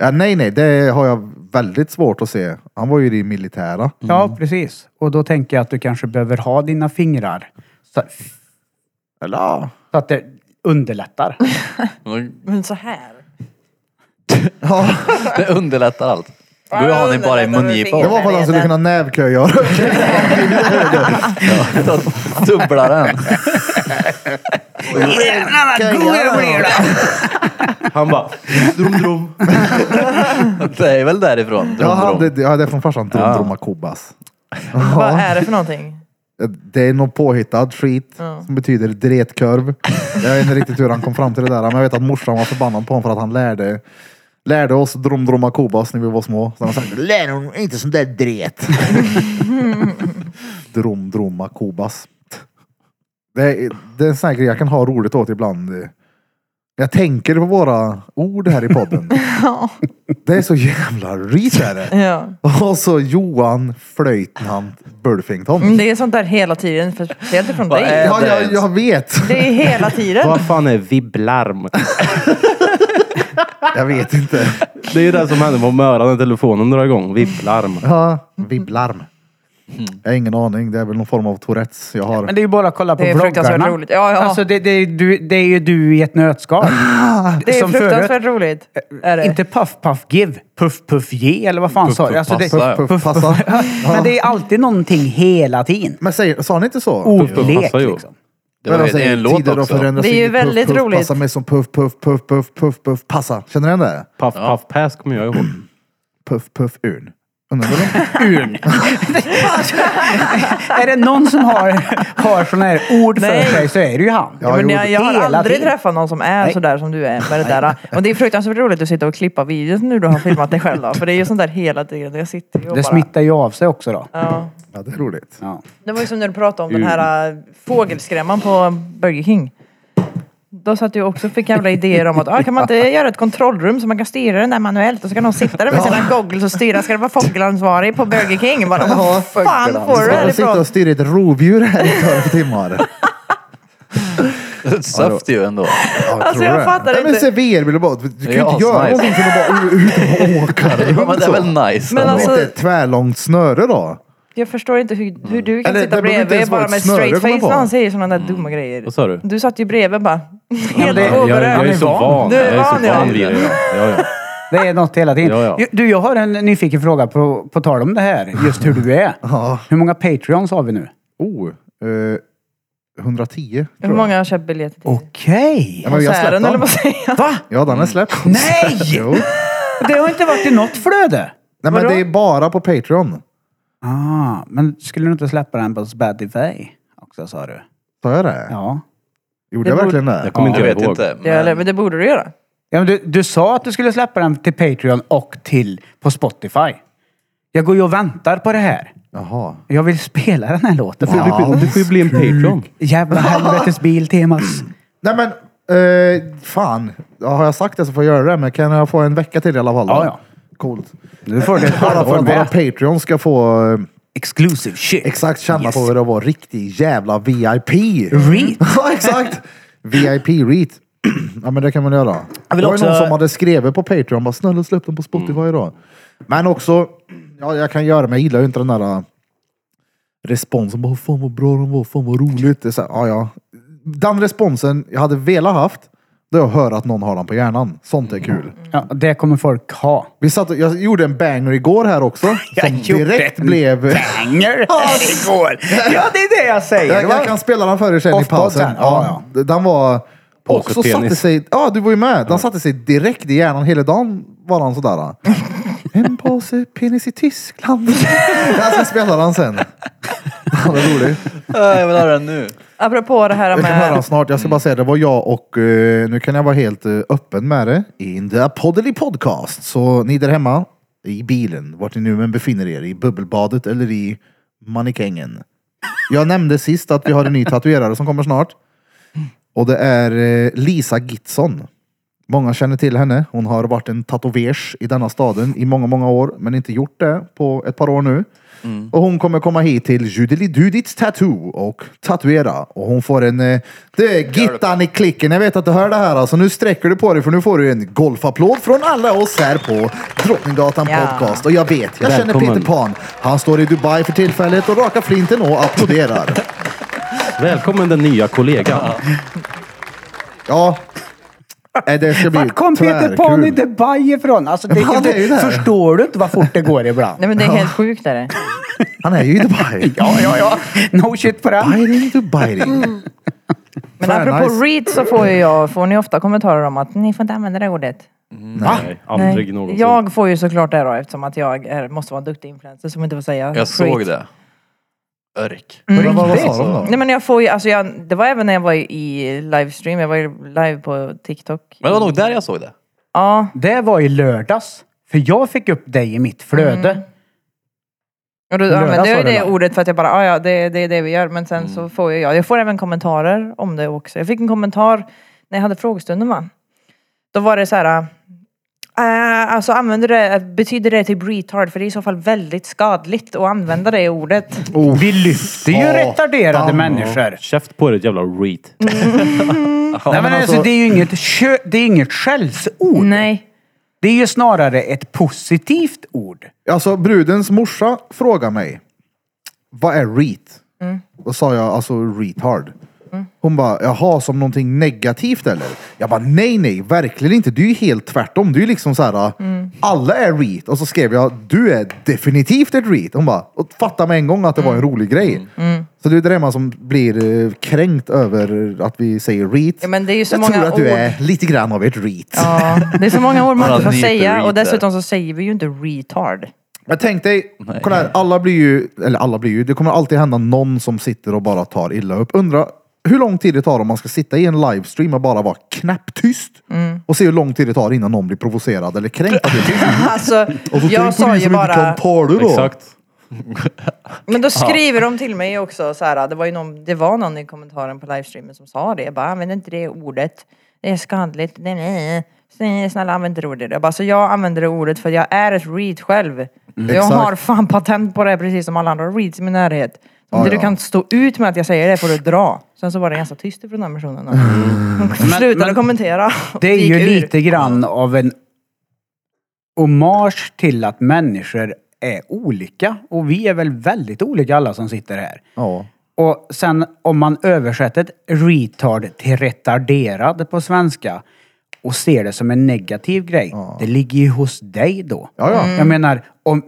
Ja, nej, nej, det har jag väldigt svårt att se. Han var ju i det militära. Ja, precis. Och då tänker jag att du kanske behöver ha dina fingrar så, Eller ja. så att det underlättar. Men så här. Det underlättar allt. Då har ni bara i mungipan. Det var för att han skulle kunna nävköja. Dubbla den. Jävlar vad god jag blir då! Han bara... Drum, drum. Det är väl därifrån. Ja, Drum, han- drum. det, ja, det är från farsan. Drumdrumma Kobas. Vad är det för någonting? Eh, Det är någon påhittad skit Ja. som betyder dretkörv. Jag vet inte riktigt hur han kom fram till det där. Men jag vet att morsan var förbannad på honom för att han lärde, lärde oss dromdroma kobas när vi var små. Så han sa, lär hon inte sån där dret. dromdroma kobas. Det är, det är en sån här grej jag kan ha roligt åt ibland. Jag tänker på våra ord här i podden. Det är så jävla rit är det. Ja. Och så Johan Flöjtnant Bulfington. Men Mm. Det är sånt där hela tiden, för- speciellt från Vad dig. är- Ja, jag, jag vet. Det är hela tiden. Vad fan är vibblarm? Jag vet inte. Det är ju det som hände på Möra när telefonen drar igång. Vibblarm. Ja, vibblarm. Jag har ingen aning. Det är väl någon form av Tourettes jag har. Men det är ju bara att kolla på Det är fruktansvärt vloggarna. roligt. Ja, ja. Alltså det, det, är du, det är ju du i ett nötskal. Det är Som fruktansvärt förut. Eh, roligt. Är det. Inte puff puff give, puff puff ge eller vad fan sa du? puff, Alltså det- passa, ja. Puff, passa. Men det är alltid någonting hela tiden. Men säger, sa ni inte så? puff, Ordlek passa, jo. liksom. Det var Men de Oh, det är säger, en låt "Tider har också. förändrats Det är in ju i puff, väldigt puff, roligt. Passa mig som puff, puff, puff, puff, puff, puff, passa. Känner ni igen det? Paff, paff, pass kommer jag ihåg. Puff, puff, urn. Undrar vad de- Är det någon som har, har sådana här ord Nej. för sig så är det ju han. Ja, men jo, jag, jag har hela aldrig tiden. träffat någon som är Nej. sådär som du är med det där. Och det är fruktansvärt roligt att sitta och klippa videos nu du har filmat dig själv då. För det är ju sånt där hela tiden. Jag sitter ju och Det bara... smittar ju av sig också då. Ja. Ja, det är roligt. Ja. Det var ju som när du pratade om den här äh, fågelskrämman på Burger King. Då satt jag också och fick jävla idéer om att ah, kan man inte göra ett kontrollrum så man kan styra den där manuellt och så kan någon sitta där med sina goggles och styra. Ska det vara fågelansvarig på Burger King? Bara, vad fan får du det här Jag sitter ifrån? Alltså, och styr ett rovdjur här i tolv timmar. Söft ju ändå. Ja, Alltså, jag fattar inte. Men inte. se VR-bilder, du kan är ju inte göra asnice. någonting för att bara ut och åka Ja, men runt det är så. väl nice. Men ändå. Om det alltså- inte är ett tvärlångt snöre då? Jag förstår inte hur, hur du kan Eller, sitta det behöver inte bredvid ens vara bara ett med snöre, straight kommer jag face på. när han säger sådana där dumma grejer. Vad sa du? Du satt ju bredvid bara. Helt det- Jag, jag är oberörd. så van. Du Jag är är van, så ja. van vid det. Ja, ja. Det är något hela tiden. Ja, ja. Ju- Du, jag har en nyfiken fråga på, på tal om det här. Just hur du är. Ja. Hur många Patreons har vi nu? Oh, eh, 110 Hur tror jag. många har köpt biljetter till? Okej! Ja, men vi har släppt Konserten eller den. vad säger jag? Va? Ja, den är släppt. Mm. Nej! Jo. Det har inte varit i något flöde. Nej, men Vadå? det är bara på Patreon. Ah, men skulle du inte släppa den på Spotify också sa du? Sa jag det? Ja. Gjorde jag Det verkligen det? Jag kommer inte Jag vet ihåg. inte. Ja, eller, Men men det borde du göra. ja men du, du sa att du skulle släppa den till Patreon och till på Spotify. Jag går ju och väntar på det här. Jaha. Jag vill spela den här låten. Du får ju bli- Du får ju bli en Patreon. Jävla helvetes biltemas. Nej men, eh, fan. Ja, har jag sagt det så får jag göra det, men kan jag få en vecka till i alla fall? då? Ja, ja. Coolt. Nu får du ett Bara för halvår att våra med. Patreon ska få eh, Exclusive shit. exakt känna Yes. på hur det var riktig jävla VIP. Reet. ja, exakt. VIP reat. ja, men det kan man göra. Det vill var också- Mm. ju någon som hade skrivit på Patreon, bara snälla släpp den på Spotify idag. Men också, ja, jag kan göra, men jag gillar ju inte den där äh, responsen, bara fan vad bra den var, fan vad roligt. Det är så här, ja, ja. den responsen jag hade velat haft, det är att höra att någon har den på hjärnan. Sånt är kul. Ja, det kommer folk ha. Vi satt och, jag gjorde en banger igår här också. Jag Som gjorde direkt en blev... Banger! igår! Ja, det är det jag säger. Jag, jag kan spela den för er sen i Off-pod pausen. sen, ja, ja. Den var... Och Också penis. satte sig... Ja, du var ju med. Den satte sig direkt i hjärnan. Hela dagen var han sådär. En påse penis i Tyskland. Jag ska spela den sen. Han är rolig. Jag vill höra den nu. Apropå det här Jag kan höra den med... snart. Jag ska bara säga det var jag och eh, nu kan jag vara helt eh, öppen med det. In the poddly podcast. Så ni där hemma i bilen, vart ni nu än befinner er, i bubbelbadet eller i manikängen. Jag nämnde sist att vi har en ny tatuerare som kommer snart. Och det är eh, Lisa Gitson. Många känner till henne. Hon har varit en tatuers i denna staden i många, många år, men inte gjort det på ett par år nu. Och hon kommer komma hit till Judelidudits Tattoo och tatuera. Och hon får en... eh, Det är Gittan i klicken. Jag vet att du hör det här. Alltså, nu sträcker du på dig för nu får du en golfapplåd från alla oss här på Drottninggatan Ja. Podcast. Och jag vet, jag känner Välkommen. Peter Pan. Han står i Dubai för tillfället och rakar flinten och applåderar. Välkommen den nya kollegan. Ja. Nej, Det ska bli Vart kom Peter Pan i tvärkul. Dubai ifrån? Alltså, det, Han är ju där. förstår du inte vad fort det går ibland? Nej men det är helt sjukt är det. Han är ju i Dubai. Ja, ja, ja. No shit på den. Biting to biting. Men Fan, apropå nice. read så får ju jag, får ni ofta kommentarer om att ni får inte använda det ordet. Nej, aldrig någonsin. Jag får ju såklart det då eftersom att jag är, måste vara en duktig influencer som inte får säga Jag såg read. det. Örk. Mm. Men vad, vad sa de då? Nej men jag får ju, alltså jag, det var även när jag var i livestream, jag var ju live på TikTok. Men det var nog där jag såg det. Ja, Det var i lördags. För jag fick upp dig i mitt flöde. Mm. och då Lördag använde jag ju sa du det live. ordet för att jag bara, "Ah, ja det, det är det vi gör. Men sen så får jag, jag får även kommentarer om det också. Jag fick en kommentar när jag hade frågestunden va. Då var det så här, äh, alltså använder det, betyder det typ retard? För det är i så fall väldigt skadligt att använda det ordet. Vi lyfter ju satan. retarderade människor. Käft på dig jävla reet. Nej, men alltså, det är ju inget, kö, det är inget skällsord. Mm. Nej. Det är ju snarare ett positivt ord. Alltså brudens morsa frågade mig. Vad är reet? Mm. Då sa jag alltså retard. Hon bara, jaha som någonting negativt eller? Jag bara, nej nej, verkligen inte. Du är ju helt tvärtom. Du är liksom så här, Mm. alla är reet. Och så skrev jag, du är definitivt ett reet. Hon bara, och fattade med en gång att det var Mm. en rolig grej. Så det är det där man som blir eh, kränkt över att vi säger reet. Ja, men det är ju så jag många tror att du ord. är lite grann av ett reet. Ja, det är så många ord man Bara inte får nyper säga read och där. dessutom så säger vi ju inte retard. Men tänk dig, kolla här, alla blir ju, eller alla blir ju, det kommer alltid hända någon som sitter och bara tar illa upp. Undra hur lång tid det tar om man ska sitta i en livestream och bara vara knäpptyst Mm. och se hur lång tid det tar innan någon blir provocerad eller kränkt. av det. Alltså, och så jag tänk på sa dig som ju inte bara... kan ta det då. Exakt. Men då skriver de till mig också så här, det var ju någon, det var någon i kommentaren på livestreamen som sa det. Jag bara, använd inte det ordet. Det är skadligt. Nej, nej. nej. Snälla använd inte det ordet. Jag bara, så jag använder det ordet för jag är ett read själv. Jag Exakt. har fan patent på det här, precis som alla andra reads i min närhet. Så Ja, Om inte du ja. kan stå ut med att jag säger det får du dra. Sen så var det ganska tyst ifrån den personen. då. Hon slutade men- kommentera. Det är Gick ju ur. lite grann av en hommage till att människor är olika. Och vi är väl väldigt olika alla som sitter här. Ja. Och sen om man översätter ett retard till retarderad på svenska och ser det som en negativ grej. Det ligger ju hos dig då. Ja, ja. Mm. Jag menar, om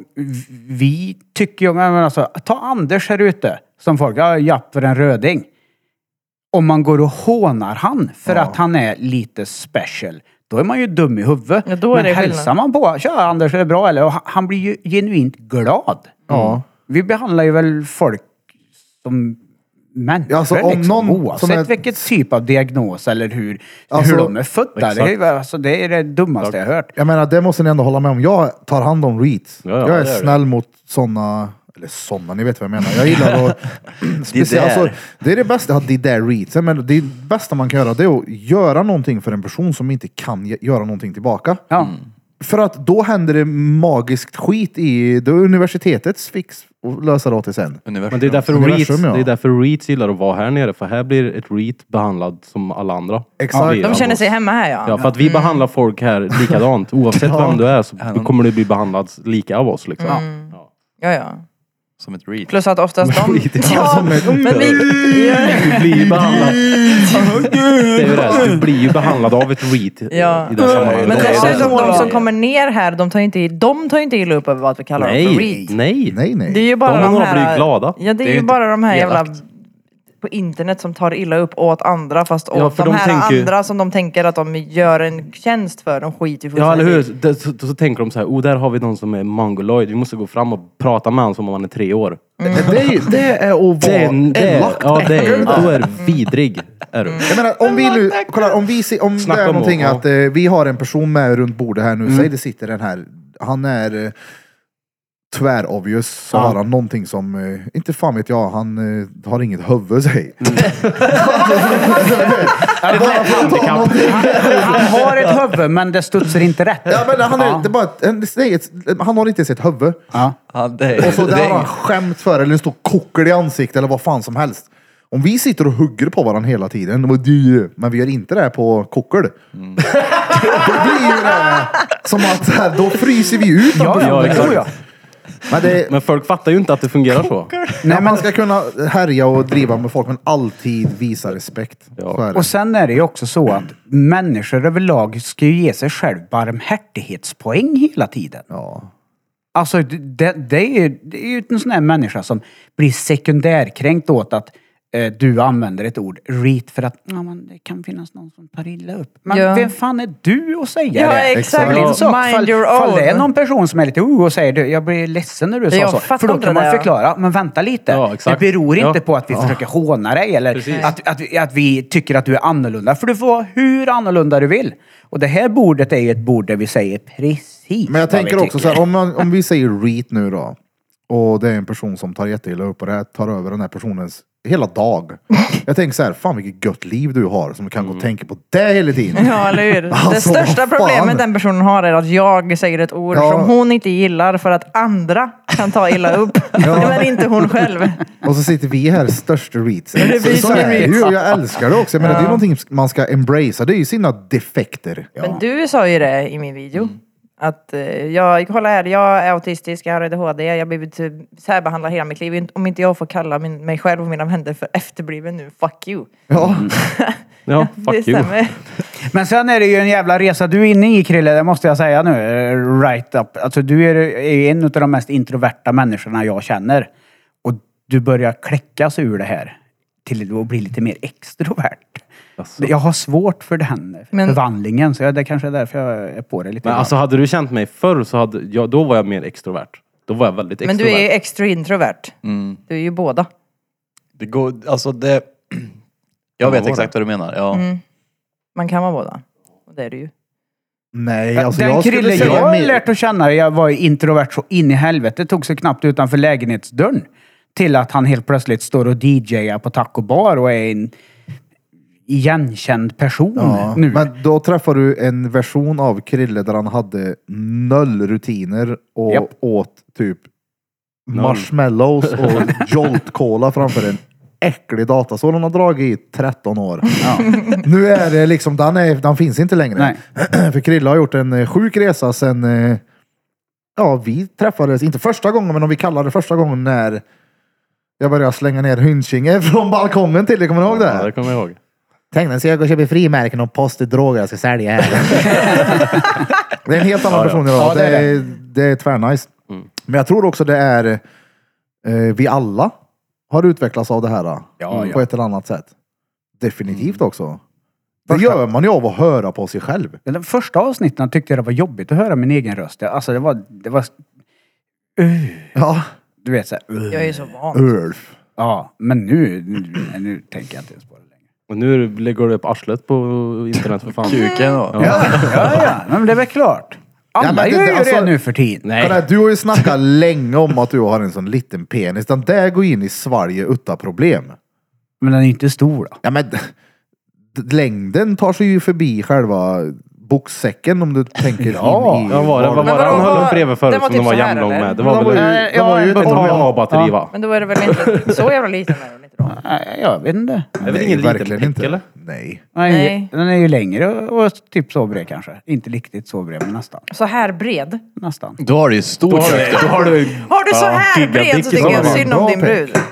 vi tycker ju... Men alltså, ta Anders här ute som folk, ja, japp för en röding. Om man går och hånar han för att han är lite special, då är man ju dum i huvudet. Ja, då är Men det skillnad. hälsar man på, tja Anders, är det bra eller? Och han- han blir ju genuint glad. Mm. Ja. Vi behandlar ju väl folk som människor Ja, alltså, om liksom, någon oavsett som är- vilken typ av diagnos eller hur, Alltså, hur de är födda. Det är, ju- alltså, det är det dummaste jag hört. Jag menar, det måste ni ändå hålla med om. Jag tar hand om reets. Ja, ja, jag är det gör snäll mot sådana, eller sådana, ni vet vad jag menar. Jag gillar att... där. speciellt, alltså, det är det bästa, ja, det där reets. Jag menar, det bästa man kan göra det är att göra någonting för en person som inte kan ge- göra någonting tillbaka. Ja. För att då händer det magiskt skit i då är universitetets fix och lösa det åt det sen. Universum. Men det är därför Universum, reets, ja. det är därför reets gillar att vara här nere. För här blir ett reet behandlad som alla andra. Exakt. Mm. Vi De känner sig alltså. hemma här ja. Ja, för att vi behandlar folk här Mm. likadant. Oavsett vem du är så kommer du bli behandlad lika av oss. Liksom. Ja, ja. Som ett read. Plus att oftast de... Ja, Som ett- men vi... Du blir ju behandlad. Det är ju det. här, Du blir ju behandlad av ett read Ja. i det här sammanhanget. Men Det är det. dessutom, de som kommer ner här, de tar ju inte, de tar ju inte illa upp över vad vi kallar dem för Nej, read. nej. Nej, nej. Det är ju bara De de, har här... blivit glada. Ja, det är, ju ju inte bara de här jävla... elakt. På internet som tar illa upp åt andra fast åt Ja, för de de här tänker- andra som de tänker att de gör en tjänst för. De skiter ju Ja, eller fullständigt hur? i. Det, så, så tänker de så här, oh, där har vi någon som är mongoloid. Vi måste gå fram och prata med honom som om han är tre år. Mm. Men det, är, ju- det är att vara Den, det, elak. ja, det, är- då är du vidrig. Är du. Jag menar, om vi nu, kolla, om vi ser, om det Snacka är om någonting att- att eh, vi har en person med runt bordet här nu, säg det sitter den här, han är eh, tvär obvious, så Ja. har han någonting som, eh, inte fan vet jag, han eh, har inget huvud säg. Bara för att ta någonting. Han har ett huvud men det studsar inte rätt. Ja, men han, är, Ja. det är bara ett, en, nej, ett, han har inte ens ett huvud. Ja. Ja, det är, Och så det där har han är, skämt för eller en stor kokel i ansiktet eller vad fan som helst. Om vi sitter och hugger på varandra hela tiden, vad du, men vi gör inte det här på kokel. då blir ju det som att så här, då fryser vi ut dem. Ja, ja, det tror jag. Men det, Men folk fattar ju inte att det fungerar så. nej, man ska kunna härja och driva med folk, men alltid visa respekt. Ja. Så är det. Och sen är det ju också så att människor överlag ska ju ge sig själv barmhärtighetspoäng hela tiden. Ja. Alltså det, det, är, ju- det är ju en sån här människa som blir sekundärkränkt åt att eh, du använder ett ord, reet, för att ja, men det kan finnas någon som tar illa upp. Men Ja. vem fan är du att säga Ja, det? exakt. Det är en sak, Mind fall, your fall det är own. någon person som är lite oh och säger du, jag blir ledsen när du Jag sa så. fattar För då inte kan det man där. förklara, men vänta lite. Ja, exakt. det beror inte Ja. på att vi försöker håna dig eller att, att, vi- att vi tycker att du är annorlunda. För du får vara hur annorlunda du vill. Och det här bordet är ju ett bord där vi säger precis Men jag vad vi tänker också tycker. så här, om, man, om vi säger reet nu då. Och det är en person som tar jätteilla upp och det här tar över den här personens hela dag. Jag tänker så här, fan vilket gött liv du har som kan gå Mm. och tänka på det hela tiden. Ja, eller hur? det Alltså, största vad fan. problemet den personen har är att jag säger ett ord Ja. som hon inte gillar för att andra kan ta illa upp. Men inte hon själv. Och så sitter vi här, största reets. det blir Så är som det reets. ju, och jag älskar det också. Jag menar, det är någonting man ska embracea, det är ju sina defekter. Men du sa ju det i min video. Att eh, jag, kolla här, jag är autistisk, jag har ADHD, jag har blivit eh, särbehandlad hela mitt liv. Om inte jag får kalla min, mig själv och mina vänner för efterbliven nu, fuck you. Ja. Ja, fuck det you. stämmer. Men sen är det ju en jävla resa du är inne i Krille, det måste jag säga nu. eh, Right up. Alltså du är, är ju en av de mest introverta människorna jag känner. Och du börjar kläckas ur det här till att bli lite mer extrovert. Alltså. Jag har svårt för den Men- förvandlingen, så jag- det kanske är därför jag är på det lite. Men grann. alltså hade du känt mig förr så hade, ja, då var jag mer extrovert. Då var jag väldigt Men extrovert. du är ju extra introvert. Du är ju båda. det går, alltså det... Jag vet exakt vad du menar. Ja. Man kan vara båda. Och det är du ju. Nej, alltså den jag Krille skulle jag säga... har mer- lärt att känna, jag var ju introvert så in i helvete, tog sig knappt utanför lägenhetsdörren. Till att han helt plötsligt står och DJar på taco bar och är en igenkänd person Ja, nu. Men då träffar du en version av Krille där han hade noll rutiner och Japp. åt typ marshmallows och Jolt Cola framför en äcklig datasol han har dragit i 13 år. Nu är det liksom, den, är, den finns inte längre. Nej. För Krille har gjort en eh, sjuk resa sen eh, ja, vi träffades, inte första gången, men om vi kallar det första gången när jag började slänga ner Hynsinge från balkongen till dig. Kommer du ihåg Ja, det kommer jag ihåg. Tänk dig, så jag går och köper frimärken och post i droger jag ska sälja här. det är en helt annan person idag. Ja, det, det Mm. är är, det är tvärnice. Men jag tror också det är, eh, vi alla har utvecklats av det här. eh, på ett eller annat sätt. Mm. Definitivt också. Det gör man ju av att höra på sig själv. De första avsnitten tyckte jag det var jobbigt att höra min egen röst. Alltså det var... Det var Ja. du vet såhär... Jag är ju så Mm. van. Ulf. Ja, men nu, nu, nu tänker jag inte ens på det längre. Och nu lägger du upp arslet på internet för fan. Kuken då. Ja, ja, men det är väl klart. men Alla det- gör det- ju alltså- det nu för tiden. Kolla, här, du har ju snackat länge om att du har en sån liten penis. Den där går in i Sverige utan problem. Men den är inte stor då. Ja, men d- d- längden tar sig ju förbi själva boxsäcken om du tänker in i... Ja, vad var det? Vad var Men det han vadå, höll vad- upp bredvid förut den var som typ de var så här, jämnlång eller? med? Det var typ Den väl var ju- en den var ju ett ett A-batteri va? Men då är det väl inte så jävla liten? Är den inte bra. Nej, jag vet inte. Det är väl ingen liten verkligen prick, inte. eller? Nej. Nej, Nej. Den är ju längre och, och typ så bred kanske. Inte riktigt så bred, men nästan. Så här bred. Nästan. Då har du ju stort köp. Då har du Har du så här bred så gigadick i tycker jag sådana. synd om Bra din pek.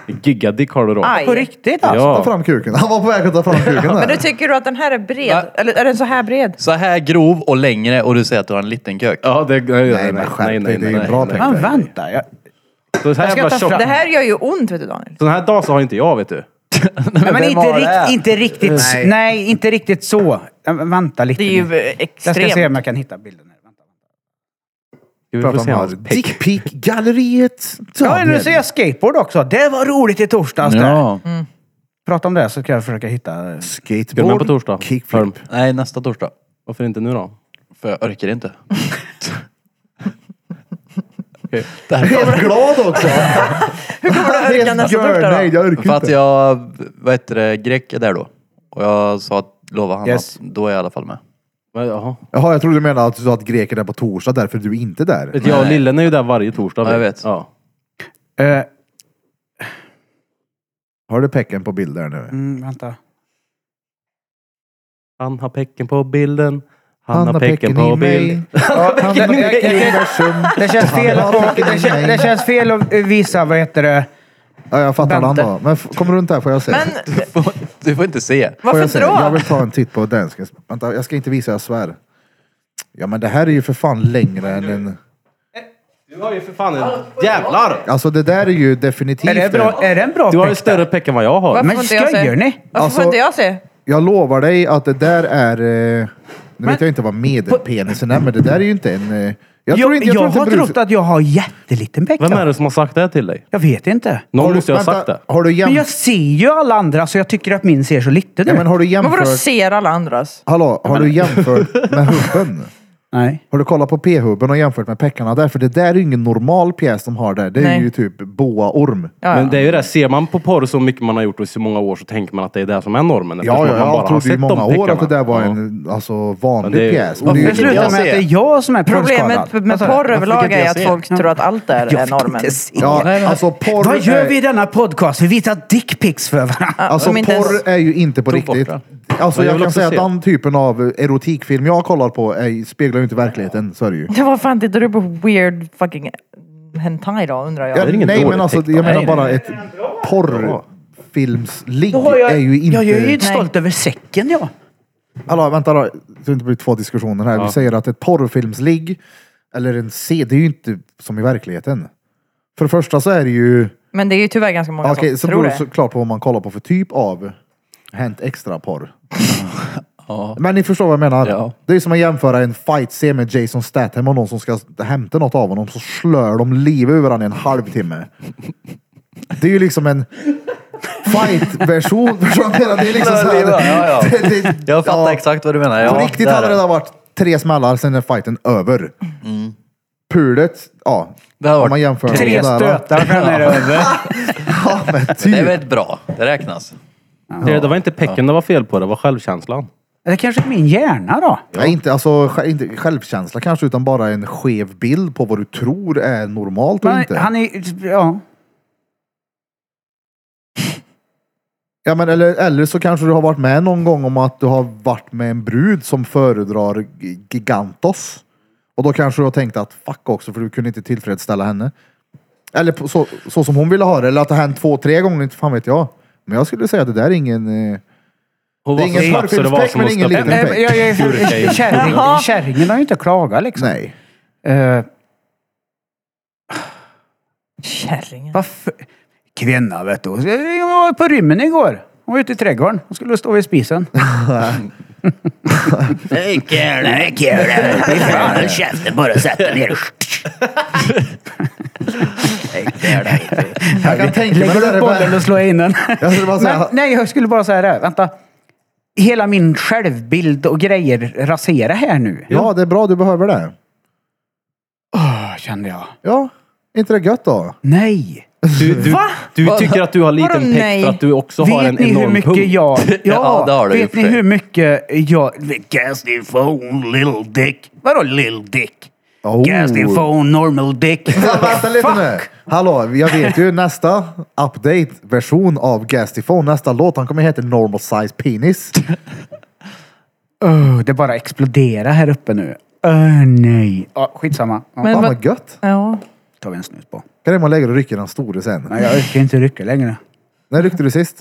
brud. Gigadick har du då. På Aj. riktigt alltså? Ja. Ta fram kuken. Han var på väg att ta fram kuken Men du där. tycker du att den här är bred? Va? Eller är den så här bred? Så här grov och längre och du säger att du har en liten kök. Ja, det... Nej, Nej men skärp dig, det är ju bra tänkt. Men vänta, jag, Så här Jag ska jävla ta fram- tjock. Det här gör ju ont vet du Daniel. Sån här dasa har inte jag, vet du. Nej, men vem inte, var rikt, det? inte riktigt nej. nej, inte riktigt så. Ja, men Vänta lite. Det är ju nu. eh, jag ska se extremt. om jag kan hitta bilden. Här. Vänta. Vi får se Prata om hans peck. Dickpick-galleriet. Ja, nu ser jag skateboard också. Det var roligt i torsdags. där. Ja. Mm. Prata om det så ska jag försöka hitta. eh, Ska du med på Skateboard. torsdag? Kickflip. Hörm. Nej, nästa torsdag. Varför inte nu då? För jag orkar inte. Okej. Därför. Helt glad också! Hur kommer du att orka nästa torsdag Nej, då? jag orkar För att inte. jag, vad heter det, grek är där då. Och jag sa att, lova han Yes. att då är jag i alla fall med. Men, Jaha. Jaha, jag trodde du menade att du sa att greken är på torsdag, därför är du inte där. Vet du, jag och Lillen är ju där varje torsdag. Ja, jag vet. Ja. eh, Har du pecken på bild där nu? mm, vänta. Han har pecken på bilden. Han, har pecken, på bild. Han har pecken i universum. Det känns fel, Han har att- pecken det i känns, det mig. känns fel att visa, vad heter det? Ja, jag fattar Vänta. den då. Men f- kom runt här får jag se. Men Du får, du får inte se. Får jag, varför se? jag då? vill ta en titt på den. Ska, vänta, jag ska inte visa, jag svär. Ja men det här är ju för fan längre än en... Du har ju för fan en... Jävlar! Alltså det där är ju definitivt... Är det, bra, är det en bra Du har ju text? större peck än vad jag har. Varför Men får inte jag skojar se? ni? Varför Alltså- får inte jag se? Jag lovar dig att det där är... eh, Nu vet jag inte vad medelpenisen är, men det där är ju inte en... eh, Jag, Jag, tror jag, inte, jag, tror inte har brus- trott att jag har jätteliten peck. Vem då. är det som har sagt det här till dig? Jag vet inte. Någon du- måste ju ha vänta, sagt det. Har du, jäm... Men jag ser ju alla andra så jag tycker att min ser så liten ja, ut. men har du Men vadå jämfört... ser alla andras? Hallå, har du jämfört med hubben? Nej. Har du kollat på p-hubben och jämfört med peckarna där? För det där är ju ingen normal pjäs de har där. Det är Nej. ju typ boaorm. Ja, Men ja. det är ju det, ser man på porr så mycket man har gjort och i så många år så tänker man att det är det som är normen. eftersom Ja, ja, att man bara har jag trodde ju i sett de många år att det pickarna. där var Ja. en alltså, Men vanlig det är- pjäs. Och Varför det är ju- Det slutar med att det är jag som är Problemet porrskadad. med Alltså, porr överlag inte är jag att se? folk tror att allt där jag är fick normen. inte se. Ja, alltså porr Vad gör vi i är, denna podcast? Vi visar dickpics för varandra. alltså, Om inte ens- porr är ju inte på Tog bort riktigt. det. Alltså, Men jag jag, vill kan också säga att se. den typen av erotikfilm jag kollar på är, speglar ju inte verkligheten. Så är det ju. Det var fan tittar du på weird fucking hentai då undrar jag. Ja, är ingen nej, dålig men alltså, text, jag nej, nej. menar bara ett porrfilmsligg är ju inte... jag är ju inte Nej. stolt över säcken jag. Hallå, vänta då. Så det inte blir två diskussioner här. Vi säger att ett porrfilmsligg eller en C, det är ju inte som i verkligheten. För det första så är det ju... Men det är ju tyvärr ganska många Okej, så som Alltså, tror beror det. det såklart på vad man kollar på för typ av Hänt Extra-porr. Men ni förstår vad jag menar. Ja. Det är som att jämföra en fight-scen med Jason Statham och någon som ska hämta något av honom så slör de livet ur varandra i en halvtimme. Det är ju liksom en fight-version. Förstår ni? Det är liksom så här, Ja, ja. Det, det, Jag fattar ja. exakt vad du menar. Ja, På riktigt där hade är det redan varit tre smällar, sen är fighten över. Mm. Pulet, ja. Det hade Om man varit jämför med Tre det där, stötar sen är det över. Ja, men Det är typ. väldigt bra. Det räknas. Det- Det var inte pecken det var fel på, det var självkänslan. Det kanske är min hjärna då. Nej, inte, alltså, sj- inte självkänsla kanske, utan bara en skev bild på vad du tror är normalt och Men inte. han är ja. Ja, men, eller, eller så kanske du har varit med någon gång om att du har varit med en brud som föredrar gi- Gigantos. Och då kanske du har tänkt att fuck också, för du kunde inte tillfredsställa henne. Eller på, så, så som hon ville ha det, eller att det har hänt två, tre gånger, inte fan vet jag. Men jag skulle säga att det där är ingen... Eh, Hon Det är var så ingen snabb så det var förfilmspeck, som men att ingen stöpa liten en peck. Nej, Eh, jag, jag, Gurka. kärring, Jaha. kärringen har ju inte klagat liksom. nej. Eh, Kärringen. Varför? Kvinna vet du. Hon var på rymmen igår. Hon var ute i trädgården. Hon skulle stå vid spisen. Nej, kul. Nej, kul. Fy fan, håll käften bara och sätt dig ner. Jag kan tänka mig det Lägger där upp är bollen bara, och slår in den. Jag skulle bara säga- Men, nej, jag skulle bara säga det. här. Vänta. Hela min självbild och grejer rasera här nu. Ja, det är bra, du behöver det. Åh, Ah, kände jag. Ja, inte det gött då? Nej. Du, du, du tycker att du har liten Vadå peck nej? för att du också har Vet en ni hur enorm mycket pung. jag... Ja, Ja, det har du Vet ju ni för sig. hur mycket jag... Because you phone, little dick. Vadå lill dick? Oh. Gas din phone, normal dick. Vänta lite nu. Hallå, jag vet ju nästa update-version av Gastifone, nästa låt, han kommer heta Normal Size Penis. Öh, det bara exploderar här uppe nu. Öh, nej. Ja, skitsamma. Ja, Men Fan vad- vad gött. Ja. tar vi en snus på. Kan det man lägger och rycker den store sen? Nej, jag orkar inte rycka längre. När ryckte du sist?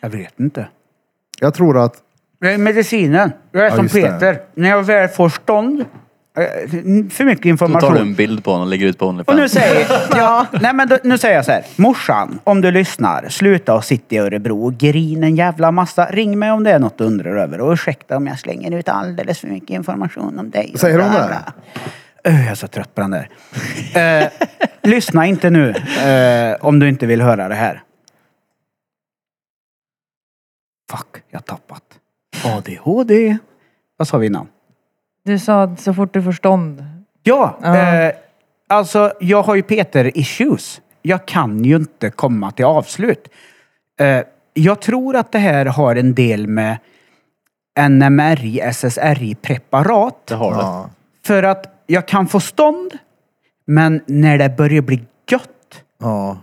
Jag vet inte. Jag tror att... Det är medicinen. Jag är Ja, som just det. Peter. När jag väl får stånd. eh, För mycket Då tar du information. en bild på honom och lägger ut på Och nu Onlyfans. säger, ja, nej men då, nu säger jag så här. Morsan, om du lyssnar, sluta och sitta i Örebro och grin en jävla massa. Ring mig om det är något du undrar över. Och ursäkta om jag slänger ut alldeles för mycket information om dig. Säger hon Bla, det? bla. Öh, jag är så trött på den där. Eh, lyssna inte nu eh, om du inte vill höra det här. Fuck, jag har tappat. ADHD. Vad sa vi innan? Du sa att så fort du får stånd. Ja, Ja. Eh, alltså jag har ju Peter-issues. Jag kan ju inte komma till avslut. Eh, jag tror att det här har en del med NMRI, SSRI-preparat. har det. Ja. För att jag kan få stånd, men när det börjar bli gött, Ja.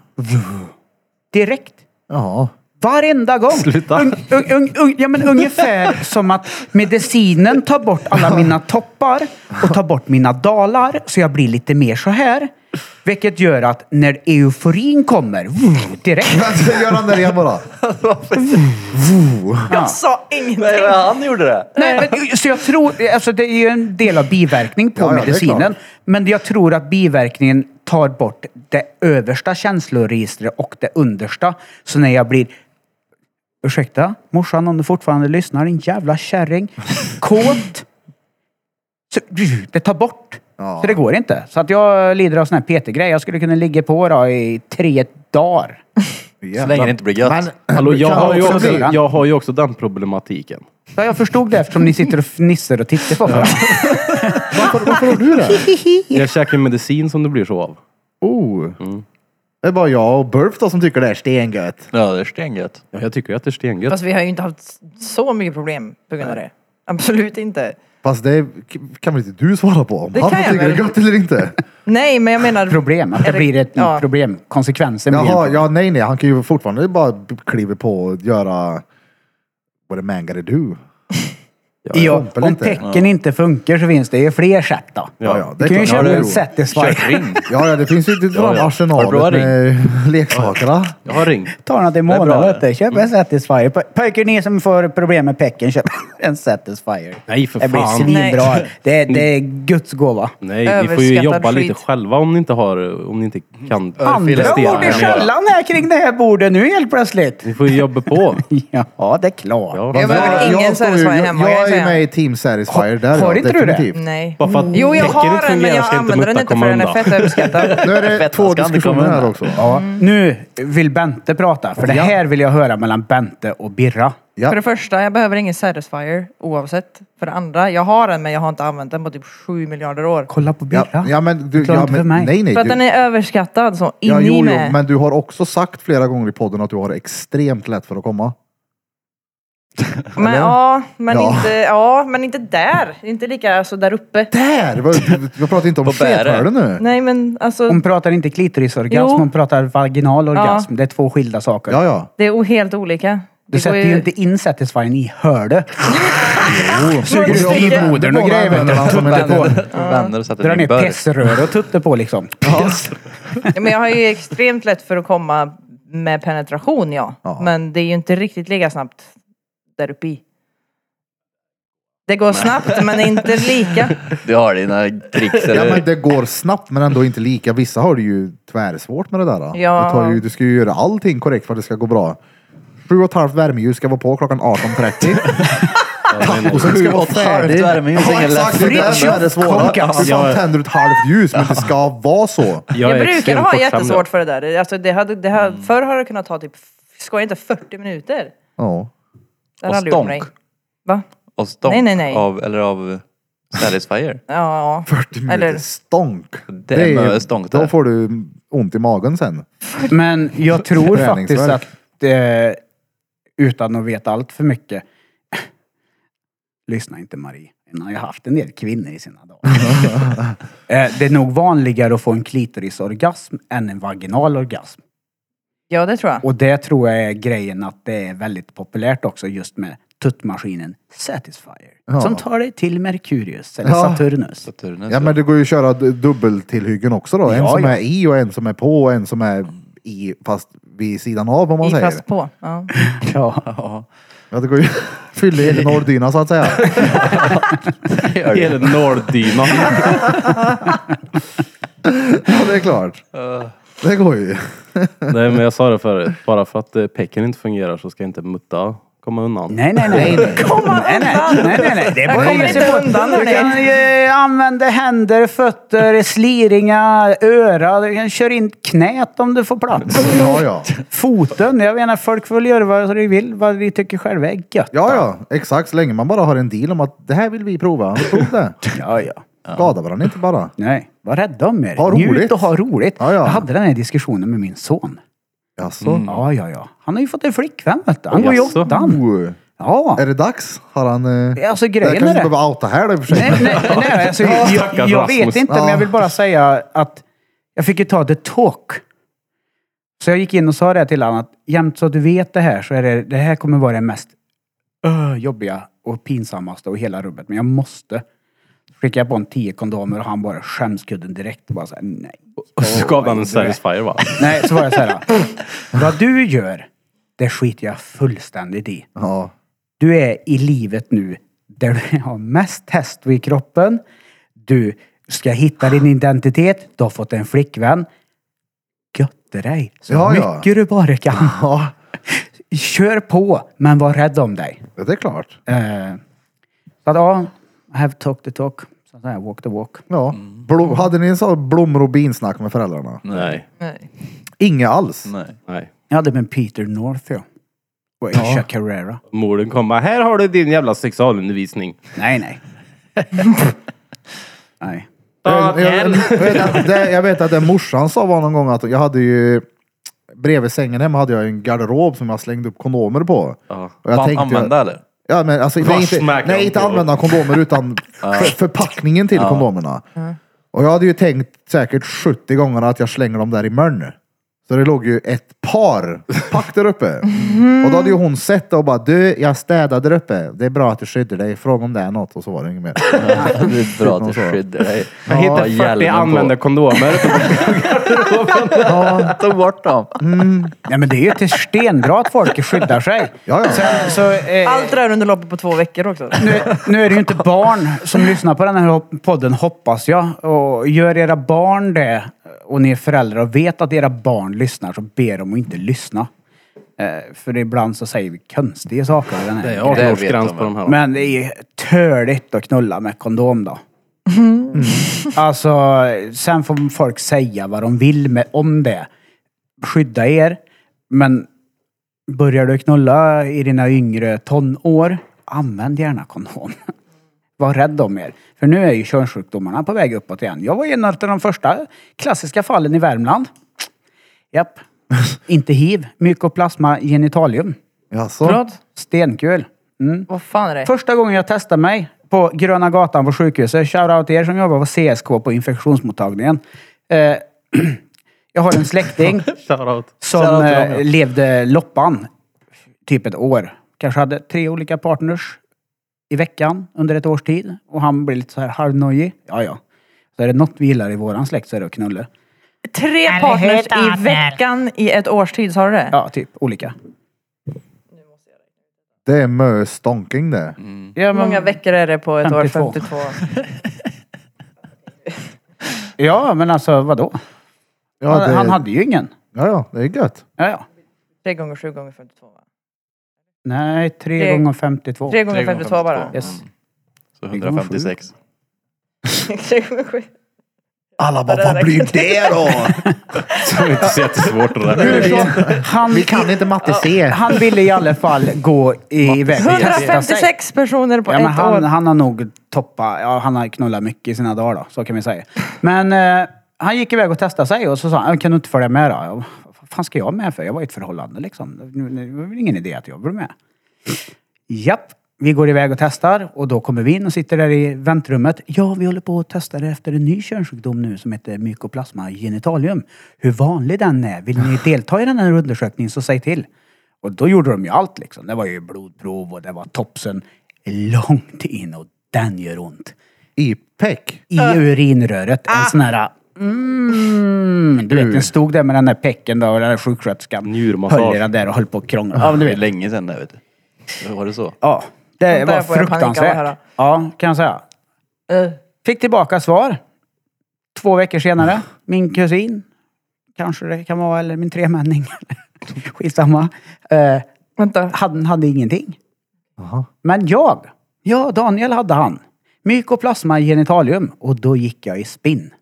direkt. Ja. Varenda gång! Sluta. Un, un, un, un, ja, men ungefär som att medicinen tar bort alla mina toppar och tar bort mina dalar, så jag blir lite mer så här. Vilket gör att när euforin kommer, vuh, direkt. Vänta, Gör han det igen bara. Ja. Sa ingenting. Nej, men han gjorde det. Nej, men, så jag tror, alltså det är ju en del av biverkning på Ja, ja, det är medicinen. klart. Men jag tror att biverkningen tar bort det översta känsloregistret och det understa. Så när jag blir, ursäkta morsan om du fortfarande lyssnar, din jävla kärring, kåt. Så, det tar bort. Ja. Så det går inte. Så att jag lider av sån här PT-grej. Jag skulle kunna ligga på då, i tre dagar. Så länge det inte blir gött. Hallå, jag, Kan har ju också också, bli. jag har ju också den problematiken. Så jag förstod det eftersom ni sitter och fnissar och tittar på varandra. Varför, varför har du det? Jag käkar medicin som det blir så av. Oh. Det är bara jag och Burf då som tycker det är stengött. Ja, det är stengött. Ja, jag tycker ju att det är stengött. Fast vi har ju inte haft så mycket problem på grund av det. Absolut inte. Fast det kan väl inte du svara på om Det han kan jag tycker det är väl. gött eller inte? Nej, men jag menar... problem. Att det Är det- blir ett ja. problem. Konsekvensen blir Jaha, en problem. ja nej nej. Han kan ju fortfarande bara b- kliva på och göra what a man gotta do. Ja, Kompel om inte. tecken inte funkar så finns det ju fler sätt då. Ja, ja, det du är kan ju klart. köra Ja, det en är- Satisfyer. Ring. Ja, ja det finns ju inte fram ja. Har du bra arsenalet med leksakerna. Jag har ringt. Ta något i bra, månaden. det. vet du. Köp Mm. en Satisfyer. Pö- Pojkar ni som får problem med pecken, köp en Satisfyer. Nej, för Det blir fan. svinbra. Nej. Det, det är Guds gåva. Nej, ni får ju Överskattad jobba lite skit. själva om ni inte har, om ni inte kan. Andra prestera ord i mer. källan här kring det här bordet nu helt plötsligt. Ni får ju jobba på. Ja, det är klart. Ja. Jag behöver jag, ingen står ju- Satisfyer jag, hemma, kan jag är säga. med i Team Satisfyer där. Har ja, inte du det? definitivt. Nej. Bara för att Jo, jag tecken har inte den, men fungerar jag ska inte använder den mutta inte komma för den är undan. fett överskattad. Nu är det två ska inte komma diskussioner här undan. också. Ja, Nu vill Bente prata, för det här vill jag höra mellan Bente och Birra. Ja. För det första, jag behöver ingen Satisfyer oavsett. För det andra, jag har den men jag har inte använt den på typ 7 miljarder år. Kolla på Birra. Ja, ja men du, Förklara ja, inte för men, mig. nej nej. För att du- den är överskattad så in ja, i jo, jo, med. men du har också sagt flera gånger i podden att du har extremt lätt för att komma. Men, ja, men Ja. Inte, ja, men inte där. Inte lika så där uppe. Där! Vad- Jag pratar inte om På bäret. fethålen nu. Nej men alltså, Hon pratar inte klitorisorgasm, Jo. hon pratar vaginal orgasm. Ja. Det är två skilda saker. Ja, ja. det är o- helt olika. Du Det går sätter ju inte in Satisfyern i hörde. Suger Munstycke. ut livmodern och grejer. vet du. Tuttar på. Vänner sätter Drar en ner burk. pessrör och tuttar på liksom. Ja, Men jag har ju extremt lätt för att komma med penetration ja. Ja. Men det är ju inte riktigt lika snabbt där uppe i. Det går snabbt men inte lika. Du har dina tricks. Ja Eller? men det går snabbt men ändå inte lika. Vissa har det ju tvärsvårt med det där. då. Ja. Det tar ju, du ska ju göra allting korrekt för att det ska gå bra. Sju och ett halvt värmeljus ska vara på klockan 18.30. Tacosen ska vara färdig. värmeljus, ingen exakt, det är det som är det svåra. Komkas. Hur fan tänder du ett halvt ljus? Men det ska vara så. Jag, är brukar extremt ha bortskämd. jättesvårt för det där. Det- Alltså, det hade, det hade, Förr har det kunnat ta typ, skoja inte, 40 minuter. Ja. Det har Och aldrig gjort mig. stånk. Va? Och stånk Nej, nej, nej. Av, eller av Satisfyer. Ja, 40 minuter Eller- stånk. Det är med stånk där. Då får du ont i magen sen. Men jag tror faktiskt Träningsvärk. att, eh, utan att veta allt för mycket, lyssna inte Marie. Hon har ju haft en del kvinnor i sina dagar. Eh, det är nog vanligare att få en klitorisorgasm än en vaginal orgasm. Ja, det tror jag. Och det tror jag är grejen att det är väldigt populärt också just med tuttmaskinen Satisfyer. Ja. Som tar dig till Merkurius eller Ja. Saturnus. Saturnus. Ja men det går ju att köra du- dubbeltillhyggen också då. En Ja, som ja. är i och en som är på och en som är i fast vid sidan av om man I säger. fast på. Ja. Ja. Ja, Ja det går ju fylla hela Norddyna så att säga. det gör det. Hela Norddynan. Ja det är klart. Det går ju. Nej men jag sa det förut, bara för att eh, pecken inte fungerar så ska inte mutta komma undan. Nej, nej, nej. Komma nej, nej, nej, nej, nej. Det är Jag bara kommer att ge inte sig på. undan, Du hörni. kan eh, använda händer, fötter, sliringa, öra. Du kan köra in knät om du får plats. Ja ja. Foten. Jag menar, folk får väl göra vad de vill, vad de tycker själva är gött. Ja ja, exakt. Så länge man bara har en deal om att det här vill vi prova. Vi prov det. ja. ja. Skada varandra inte bara. Nej, var rädda om er. Ha roligt. Njut och ha roligt. Ja, ja. Jag hade den här diskussionen med min son. Jaså? Ja, ja, ja. Han har ju fått en flickvän, vet du. Han går i Mm. Jaså? åttan. Oh. Ja. Är det dags? Har han... Eh... Alltså Jag grejen kanske är inte det. behöver outa här då i och för sig. Nej, nej, nej. Alltså, jag, Stackars jag Rasmus. vet inte, men jag vill bara säga att jag fick ju ta the talk. Så jag gick in och sa det till honom att jämt så att du vet det här så är det, det här kommer vara det mest öh, jobbiga och pinsammaste och hela rubbet. Men jag måste. Skickade jag på en tio kondomer och han bara skämskudden direkt. Och bara så här, nej. Och så gav han en satisfier va? Nej, så var jag så här. Vad du gör, det skiter jag fullständigt i. Ja. Du är i livet nu där du har mest testo i kroppen. Du ska hitta din identitet. Du har fått en flickvän. Götte dig så Ja, ja. mycket du bara kan. ja, Kör på, men var rädd om dig. det är klart. Eh, så att ja, I have talk the talk. Så att säga, walk the walk. Ja. Blom, hade ni en sån blommor och binsnack med föräldrarna? Nej. Nej. Inga alls. Nej. Nej. Jag hade med Peter North, ja. Och Aisha Carrera. Morden kommer. Här har du din jävla sexualundervisning. Nej, nej. nej. Jag, jag, jag, vet att det, jag vet att det morsan sa var någon gång att jag hade ju bredvid sängen hemma hade jag en garderob som jag slängde upp kondomer på. Ja. Och jag Fan, tänkte- Använda eller? Ja, men alltså, nej, inte, Varsmäkaren nej, inte på. använda kondomer utan för, förpackningen till kondomerna. Och jag hade ju tänkt säkert 70 gånger att jag slänger dem där i mörn. Så det låg ju ett par pack där uppe. Och då hade ju hon sett det och bara du, jag städade där uppe. Det är bra att du skyddar dig. Fråga om det är något. Och så var det inget mer. Det är bra att någon du så. skyddar dig. Jag hittade 40 använda kondomer. Ta bort dem. Mm. Nej men det är ju till stenbra att folk skyddar sig. Ja, ja. Sen så, eh, Allt det här under loppet på två veckor också. nu, nu är det ju inte barn som lyssnar på den här hop- podden hoppas jag. Och gör era barn det och ni är föräldrar och vet att era barn lyssnar så ber dem att inte lyssna. Eh, för ibland så säger vi konstiga saker. i Den här Det är grejen. 18-årsgräns de, på de här. Men det är töligt att knulla med kondom då. Alltså, sen får folk säga vad de vill med, om det. Skydda er. Men börjar du knulla i dina yngre tonår, använd gärna kondom. Var rädd om er. För nu är ju könssjukdomarna på väg uppåt igen. Jag var en av de första klassiska fallen i Värmland. Japp. Inte hiv. Mycoplasma genitalium. Jaså? Förlåt? Stenkul. Mm. Vad fan är det? Första gången jag testade mig på Gröna Gatan på sjukhuset, shoutout till er som jobbar på CSK på infektionsmottagningen. Eh, jag har en släkting Shoutout. som eh, levde loppan, typ ett år. Kanske hade tre olika partners i veckan under ett års tid. Och han blev lite så här halvnojig. Ja, ja. Så är det något vi gillar i våran släkt så är det att knulla. Tre partners i veckan i ett års tid, sa du det? Ja, typ olika. Det är mö stonking det. Ja, Hur många veckor är det på ett år? 52. 52. ja men alltså vadå? Ja, han, det, han hade ju ingen. ja, ja, det är gött. Ja, ja. 3 gånger 7 gånger 52 va? Nej, tre, Tre- gånger 52. 3 gånger 52 bara. Yes. Mm. Så 156. 3 gånger 7. Alla bara, "Vad blir det då? Det är inte så jättesvårt det där. Han, Vi kan inte matte C. han ville i alla fall gå i- iväg och testa sig. 156 personer på Ja, men ett år. han, han har nog toppat, ja han har knullat mycket i sina dagar då, så kan vi säga. Men eh, han gick iväg och testade sig och så sa han, "Ja, kan du inte följa med då? Jag, Vad fan ska jag med för? Jag var i ett förhållande liksom. Det var väl ingen idé att jag var med. Japp, vi går iväg och testar och då kommer vi in och sitter där i väntrummet. Ja, vi håller på att testa efter en ny könssjukdom nu som heter mykoplasma genitalium. Hur vanlig den är. Vill ni delta i den här undersökningen så säg till. Och då gjorde de ju allt liksom. Det var ju blodprov och det var topsen långt in och den gör ont. I peck. I urinröret. En sån här... Mm, du vet, den stod där med den där pecken då och den där sjuksköterskan Njurmassage. höll i den där och höll på att krångla. Ja, men det är länge sedan det vet du. Eller Var det så? Ja, det Vänta, var jag får panik av det här då. fruktansvärt. Ja, kan jag säga. Eh, Fick tillbaka svar. Två veckor senare. Min kusin. Kanske det kan vara, eller min tremänning. Skitsamma. Eh, vänta. han hade ingenting. Men jag. Ja, Daniel hade han. Mykoplasma genitalium. Och då gick jag i spinn.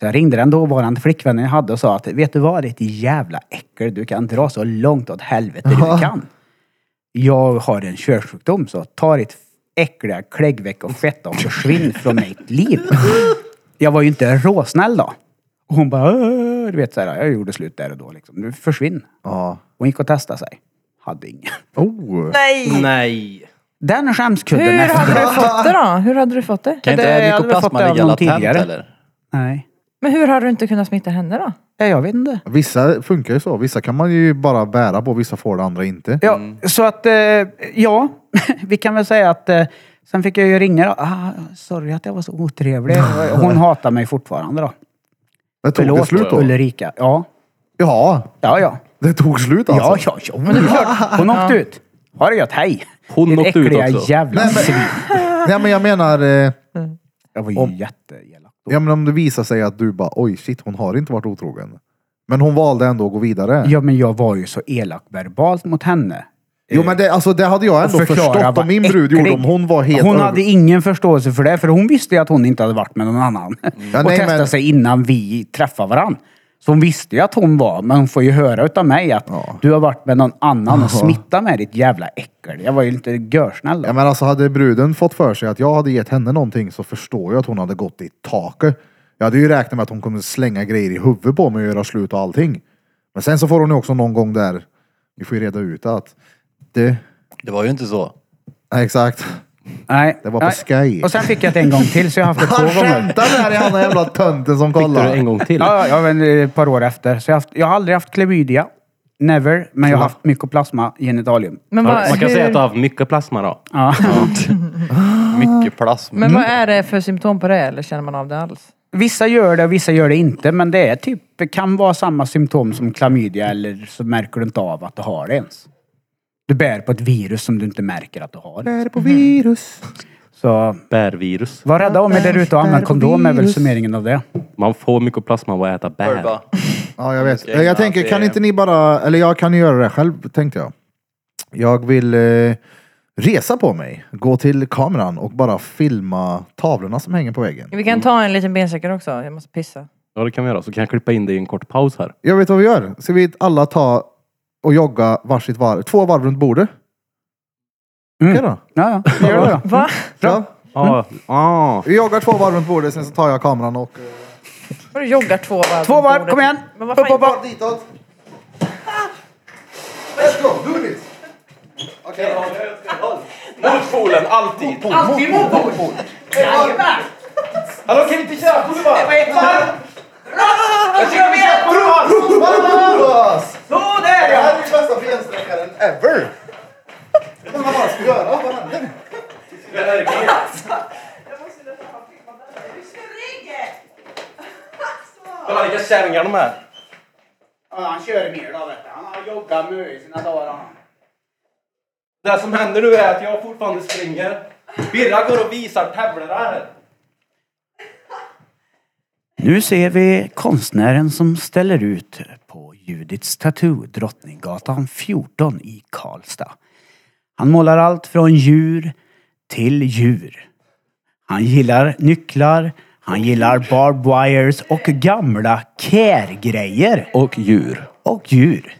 Så jag ringde den dåvarande flickvännen jag hade och sa att vet du vad, ditt jävla äckel. Du kan dra så långt åt helvete du kan. Jag har en körsjukdom så ta ditt äckliga kläggveck och fett och försvinn från mitt liv. Jag var ju inte råsnäll då. Och hon bara, "Åh", du vet så här, jag gjorde slut där och då liksom. Du försvinn. Ja. Hon gick och testade sig. Hade ingen. Oh. Mm. Nej! Nej. Den skämskudden Hur efter. hade du fått det då? Hur hade du fått det? Kan det hade inte jag fått mykoplasma av ligga någon latent tidigare. eller? Nej. Men hur hade du inte kunnat smitta henne då? Ja, jag vet inte. Vissa funkar ju så. Vissa kan man ju bara bära på, vissa får det, andra inte. Ja, Mm. så att, eh, ja, vi kan väl säga att eh, sen fick jag ju ringa då. Ah, sorry att jag var så otrevlig. Hon hatar mig fortfarande då. Men tog det slut då? Ulrika. Ja, Ja, ja, ja. det tog slut alltså. Ja, ja, ja. Men det är klart. Hon åkte ut. Ha det gött, hej. Hon Ditt åkte ut äckliga också. jävla svin. Nej men jag menar, eh, Jag var ju jätteelak. ja, men om det visar sig att du bara oj shit hon har inte varit otrogen. Men hon valde ändå att gå vidare. Ja, men jag var ju så elak verbalt mot henne. Jo men det, alltså, det hade jag ändå förstått eh, vad om min brud gjorde äcklig. om hon var helt Hon över- hade ingen förståelse för det, för hon visste ju att hon inte hade varit med någon annan. Mm. Ja, och nej, testade men- sig innan vi träffade varandra. Så hon visste ju att hon var, men hon får ju höra utav mig att du har varit med någon annan och smittat mig ditt jävla äckel. Jag var ju inte görsnäll då. Ja men alltså hade bruden fått för sig att jag hade gett henne någonting så förstår jag att hon hade gått i taket. Jag hade ju räknat med att hon kommer slänga grejer i huvudet på mig och göra slut och allting. Men sen så får hon ju också någon gång där, vi får ju reda ut att det, Det var ju inte så. nej exakt. Nej. Det var på Nej. Sky. Och sen fick jag det en gång till, så jag har haft det Han två gånger. skämtar med dig han den jävla tönten som Fick du det en kollar. gång till? Ja, ja, ja, men eh, ett par år efter. Så jag, har haft, jag har aldrig haft klamydia. Never. Men jag har haft mykoplasma genitalium. Men vad, Man kan hur, säga att du har haft mycket plasma då. Ja. Mycket plasma. men vad Mm. är det för symptom på det? Eller känner man av det alls? Vissa gör det och vissa gör det inte. Men det är typ, det kan vara samma symptom som klamydia eller så märker du inte av att du har det ens. Du bär på ett virus som du inte märker att du har. Bär på virus. Så Bärvirus. var rädda om er där ute och använd kondom är väl summeringen av det. Man får mycket plasma av att äta bär. Urba. Ja, jag vet. Ska jag Jag gilla tänker, att kan det- inte ni bara, eller jag kan ju göra det själv, tänkte jag. Jag vill eh, resa på mig, gå till kameran och bara filma tavlorna som hänger på väggen. Vi Mm. kan ta en liten bensäker också. Jag måste pissa. Mm. Ja, det kan vi göra. Så kan jag klippa in det i en kort paus här. Jag vet vad vi gör. Ska vi alla ta och jogga varsitt varv, två varv runt bordet? Mm. Okej då. Ja, ja. Gör det då. Va? Ja. Ja. Ah. Vi joggar två varv runt bordet, sen så tar jag kameran och... Vadå joggar två varv? Två varv, kom igen! Men vad fan- Upp, upp, upp. Ditåt! Let's go, do this! Okej. Motpolen, alltid. Alltid motpol! Hallå, kan vi inte köra på det bara? Det här är ju bästa bensträckaren ever! Vad man bara ska göra, vad händer? De här lika kärringar de här. Han kör mer då vet du. Han har joggat mycket i sina dagar han. Det som händer nu är att jag fortfarande springer. Birra går och visar tävlor här. Nu ser vi konstnären som ställer ut på Judits Tattoo, Drottninggatan 14 i Karlstad. Han målar allt från djur till djur. Han gillar nycklar, han gillar barbed wires och gamla care-grejer. Och djur. Och djur.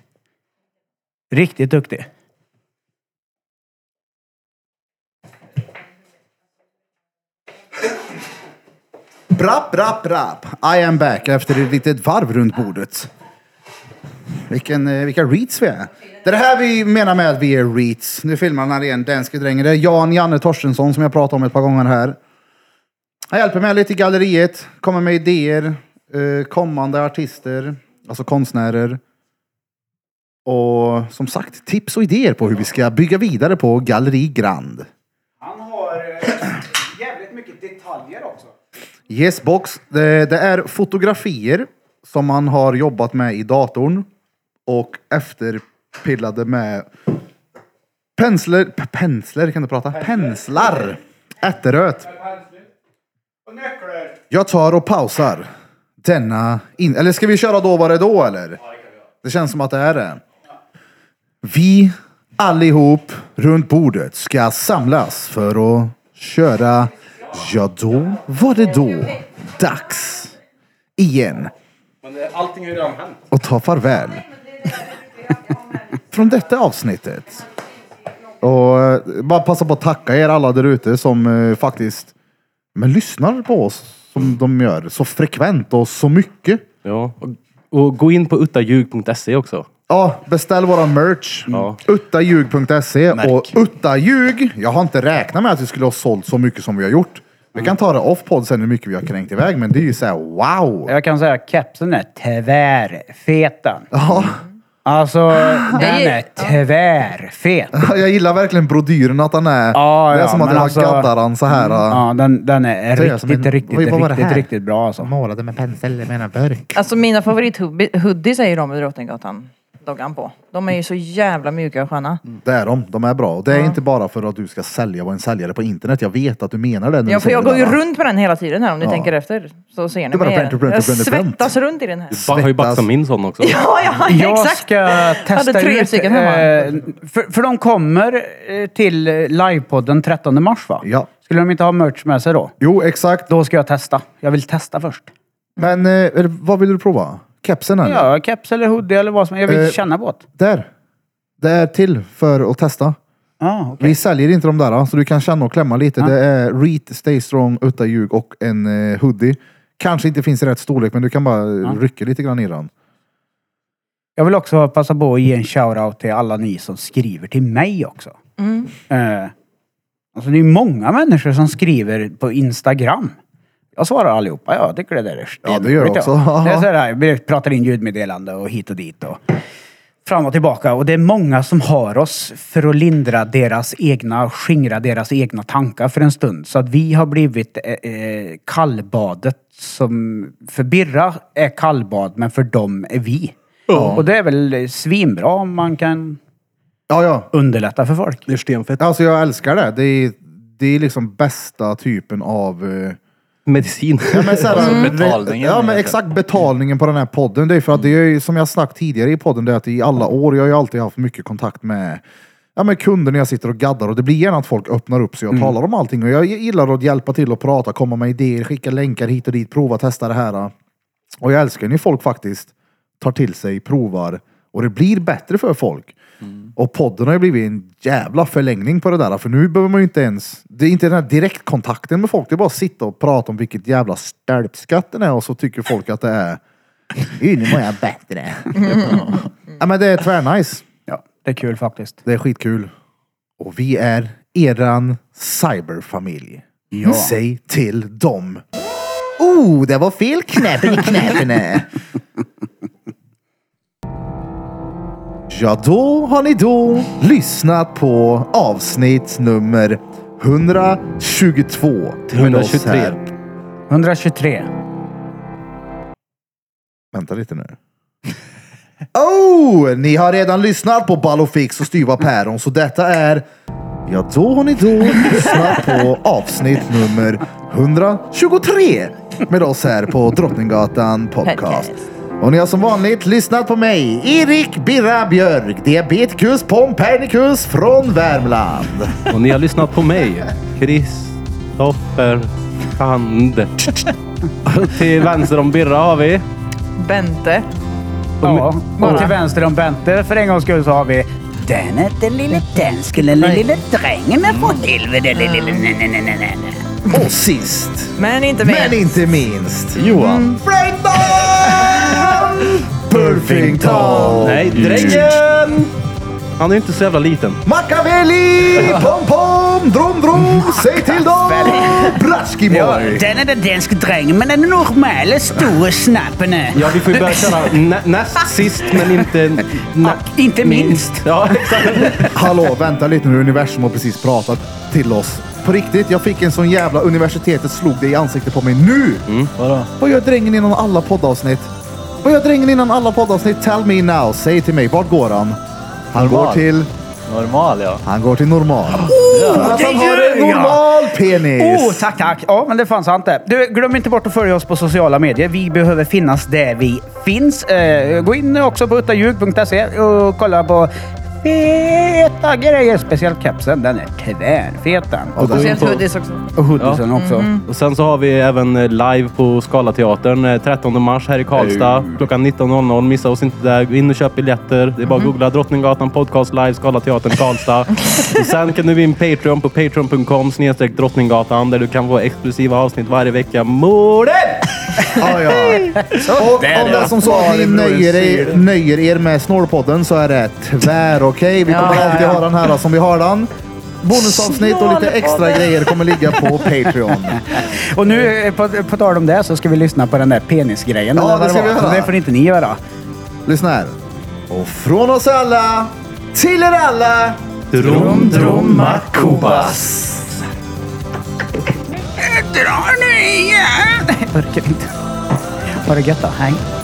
Riktigt duktig. Brapp, brapp, brapp. I am back efter ett litet varv runt bordet. Vilken, eh, vilka reats vi är. Det är det här vi menar med att vi är reats. Nu filmar han en danske dräng. Det är Jan Janne Torstensson som jag pratade om ett par gånger här. Han hjälper mig lite i galleriet, kommer med idéer, eh, kommande artister, alltså konstnärer. Och som sagt, tips och idéer på hur vi ska bygga vidare på Galleri Grand. Han har eh, jävligt mycket detaljer också. Yes box. Det, det är fotografier som man har jobbat med i datorn och efterpillade med pensler, p- pensler kan du prata? Penslar! Ätteröt. Och nycklar. Jag tar och pausar denna in... Eller ska vi köra då var det då eller? Det känns som att det är det. Vi allihop runt bordet ska samlas för att köra Ja då var det då dags igen Men eh, allting har ju redan hänt. och ta farväl från detta avsnittet. Och eh, bara passa på att tacka er alla där ute som eh, faktiskt men lyssnar på oss som de gör så frekvent och så mycket. Ja. Och, och gå in på uttaljug.se E också. Ja, beställ våra merch. Ja. Uttaljug.se och uttaljug. Jag har inte räknat med att vi skulle ha sålt så mycket som vi har gjort. Vi kan ta det off podd sen hur mycket vi har kränkt iväg, men det är ju såhär wow! Jag kan säga att kepsen är tvärfetan. Ja, Ah. Alltså, den är tvärfet. jag gillar verkligen brodyren att han är... Ja, det är ja, som att men jag alltså- gaddar han så här. Ja, den, den är Det är som riktigt, en- riktigt, Oj, vad var det riktigt, här? riktigt bra alltså. Målade med pensel, jag menar burk. Alltså mina favorithoodies är ju de med Drottninggatan doggan på. De är ju så jävla mjuka och sköna. Det är de, de är bra. Och det är inte bara för att du ska sälja, vara en säljare på internet. Jag vet att du menar det när Ja, du för säger jag det går ju där, va? runt med den hela tiden här om ni tänker efter. Så ser ni bara mig. bränt och bränt och Jag bränt och bränt. svettas runt i den här. Jag har ju Svettas. baxat min sån också. Ja, ja, Jag exakt. ska testa hade tre ut... stycken hemma. eh, för, för de kommer eh, till eh, livepodden 13 mars va? Ja. Skulle de inte ha merch med sig då? Jo, exakt. Då ska jag testa. Jag vill testa först. Men eh, eller vad vill du prova? Kepsen eller? Ja, keps eller hoodie eller vad som Jag vill Mm. Eh, känna på det. Där! Det är till för att testa. Ah, Vi säljer inte de där, så du kan känna och klämma lite. Det är Reet, Stay Strong, Utta Ljug och en eh, hoodie. Kanske inte finns i rätt storlek, men du kan bara eh, rycka lite grann i den. Jag vill också passa på att ge en shout-out till alla ni som skriver till mig också. Eh, alltså det är många människor som skriver på Instagram. Jag svarar allihopa. Jag tycker det där är Ja, det gör jag stenroligt, också. ja. Det är så här, jag blir- pratar in ljudmeddelande och hit och dit och fram och tillbaka. Och det är många som har oss för att lindra deras egna, skingra deras egna tankar för en stund. Så att vi har blivit eh, eh, kallbadet som för Birra är kallbad, men för dem är vi. Och det är väl svinbra om man kan Ja, ja. underlätta för folk. Det är stenfett. Alltså jag älskar det. Det är, det är liksom bästa typen av... eh, Medicin. Ja, men så här, Mm. Betalningen, Ja, men egentligen. exakt betalningen på den här podden. Det är för att det är ju, som jag sagt tidigare i podden, det är att i alla år, jag har ju alltid haft mycket kontakt med Ja, men kunder när jag sitter och gaddar och det blir gärna att folk öppnar upp sig och talar om allting. Och jag gillar att hjälpa till och prata, komma med idéer, skicka länkar hit och dit, prova, testa det här. Och jag älskar när folk faktiskt tar till sig, provar och det blir bättre för folk. Och podden har ju blivit en jävla förlängning på det där. För nu behöver man ju inte ens... Det är inte den här direktkontakten med folk. Det är bara att sitta och prata om vilket jävla stölpskatt den är och så tycker folk att det är... "Ju, Nu mår jag bättre. ja, men det är tvärnice. Ja, det är kul faktiskt. Det är skitkul. Och vi är eran cyberfamilj. Säg till dem. Oh, det var fel knäppen i knäppen. ja, då har ni då lyssnat på avsnitt nummer 122. med oss 123. här. 123. Vänta lite nu. Oh, ni har redan lyssnat på Ballofix och Styva Päron, så detta är... Ja, då har ni då lyssnat på avsnitt nummer 123 med oss här på Drottninggatan Podcast. Podcast. Och ni har som vanligt lyssnat på mig, Erik Birra Björk, diabetikus Pompernicus från Värmland. Och ni har lyssnat på mig. Kristoffer Sand. Till vänster om Birra har vi. Bente. Ja, och till vänster om Bente för en gångs skull så har vi Den är den lille dansken, den lille drängen är för helvete, den lille... Mm. Nej, nej, nej, nej, nej. Och sist, Men inte men mer. inte minst, Johan Frändon! Burfington! Nej, Mm. drängen! Han är ju inte så jävla liten. Machiavelli! Pom pom! Drom drom! Säg till dem! Bratskimoj! Den är den danske drängen med den normale store snappene. Ja, vi får ju börja köra nä- näst sist men inte... nä- Inte minst. Ja, exakt. Hallå, vänta lite nu. Universum har precis pratat till oss. På riktigt, jag fick en sån jävla... Universitetet slog det i ansiktet på mig nu! Vadå? Vad gör drängen innan alla poddavsnitt? Vad gör drängen innan alla poddavsnitt? Tell me now. Säg till mig, vart går han? Han går Normal. till... Normal ja. Han går till normal. det han har gör en jag! normal penis! Oh, tack, tack. Ja, men det fanns han inte. Du, glöm inte bort att följa oss på sociala medier. Vi behöver finnas där vi finns. Eh, gå in också på uttaljug.se och kolla på feta grejer. Speciellt kepsen. Den är tvärfetan. Och där- Speciellt hoodies också. Och hoodiesen också. Och sen så har vi även eh, live på Scalateatern eh, 13 mars här i Karlstad. Klockan 19.00. Missa oss inte där. Gå in och köp biljetter. Det är bara att googla Drottninggatan podcast live Scalateatern Karlstad. och sen kan du gå in på Patreon på patreon.com snedstreck Drottninggatan där du kan få exklusiva avsnitt varje vecka. Målet! Ja, ja. Och om det är som så att ni nöjer er, nöjer er med Snålpodden så är det tvär okej. Vi kommer Ja, ja, alltid ja. ha den här som vi har den. Bonusavsnitt och lite extra grejer kommer ligga på Patreon. Och nu, eh, på, på tal om det, så ska vi lyssna på den där penisgrejen. Ja, eller vad det ska var. vi göra. Det får inte ni göra. Lyssna här. Och från oss alla, till er alla. Drum, drum, Drar ni igen? Jag orkar inte. Ha det gött då. Hej.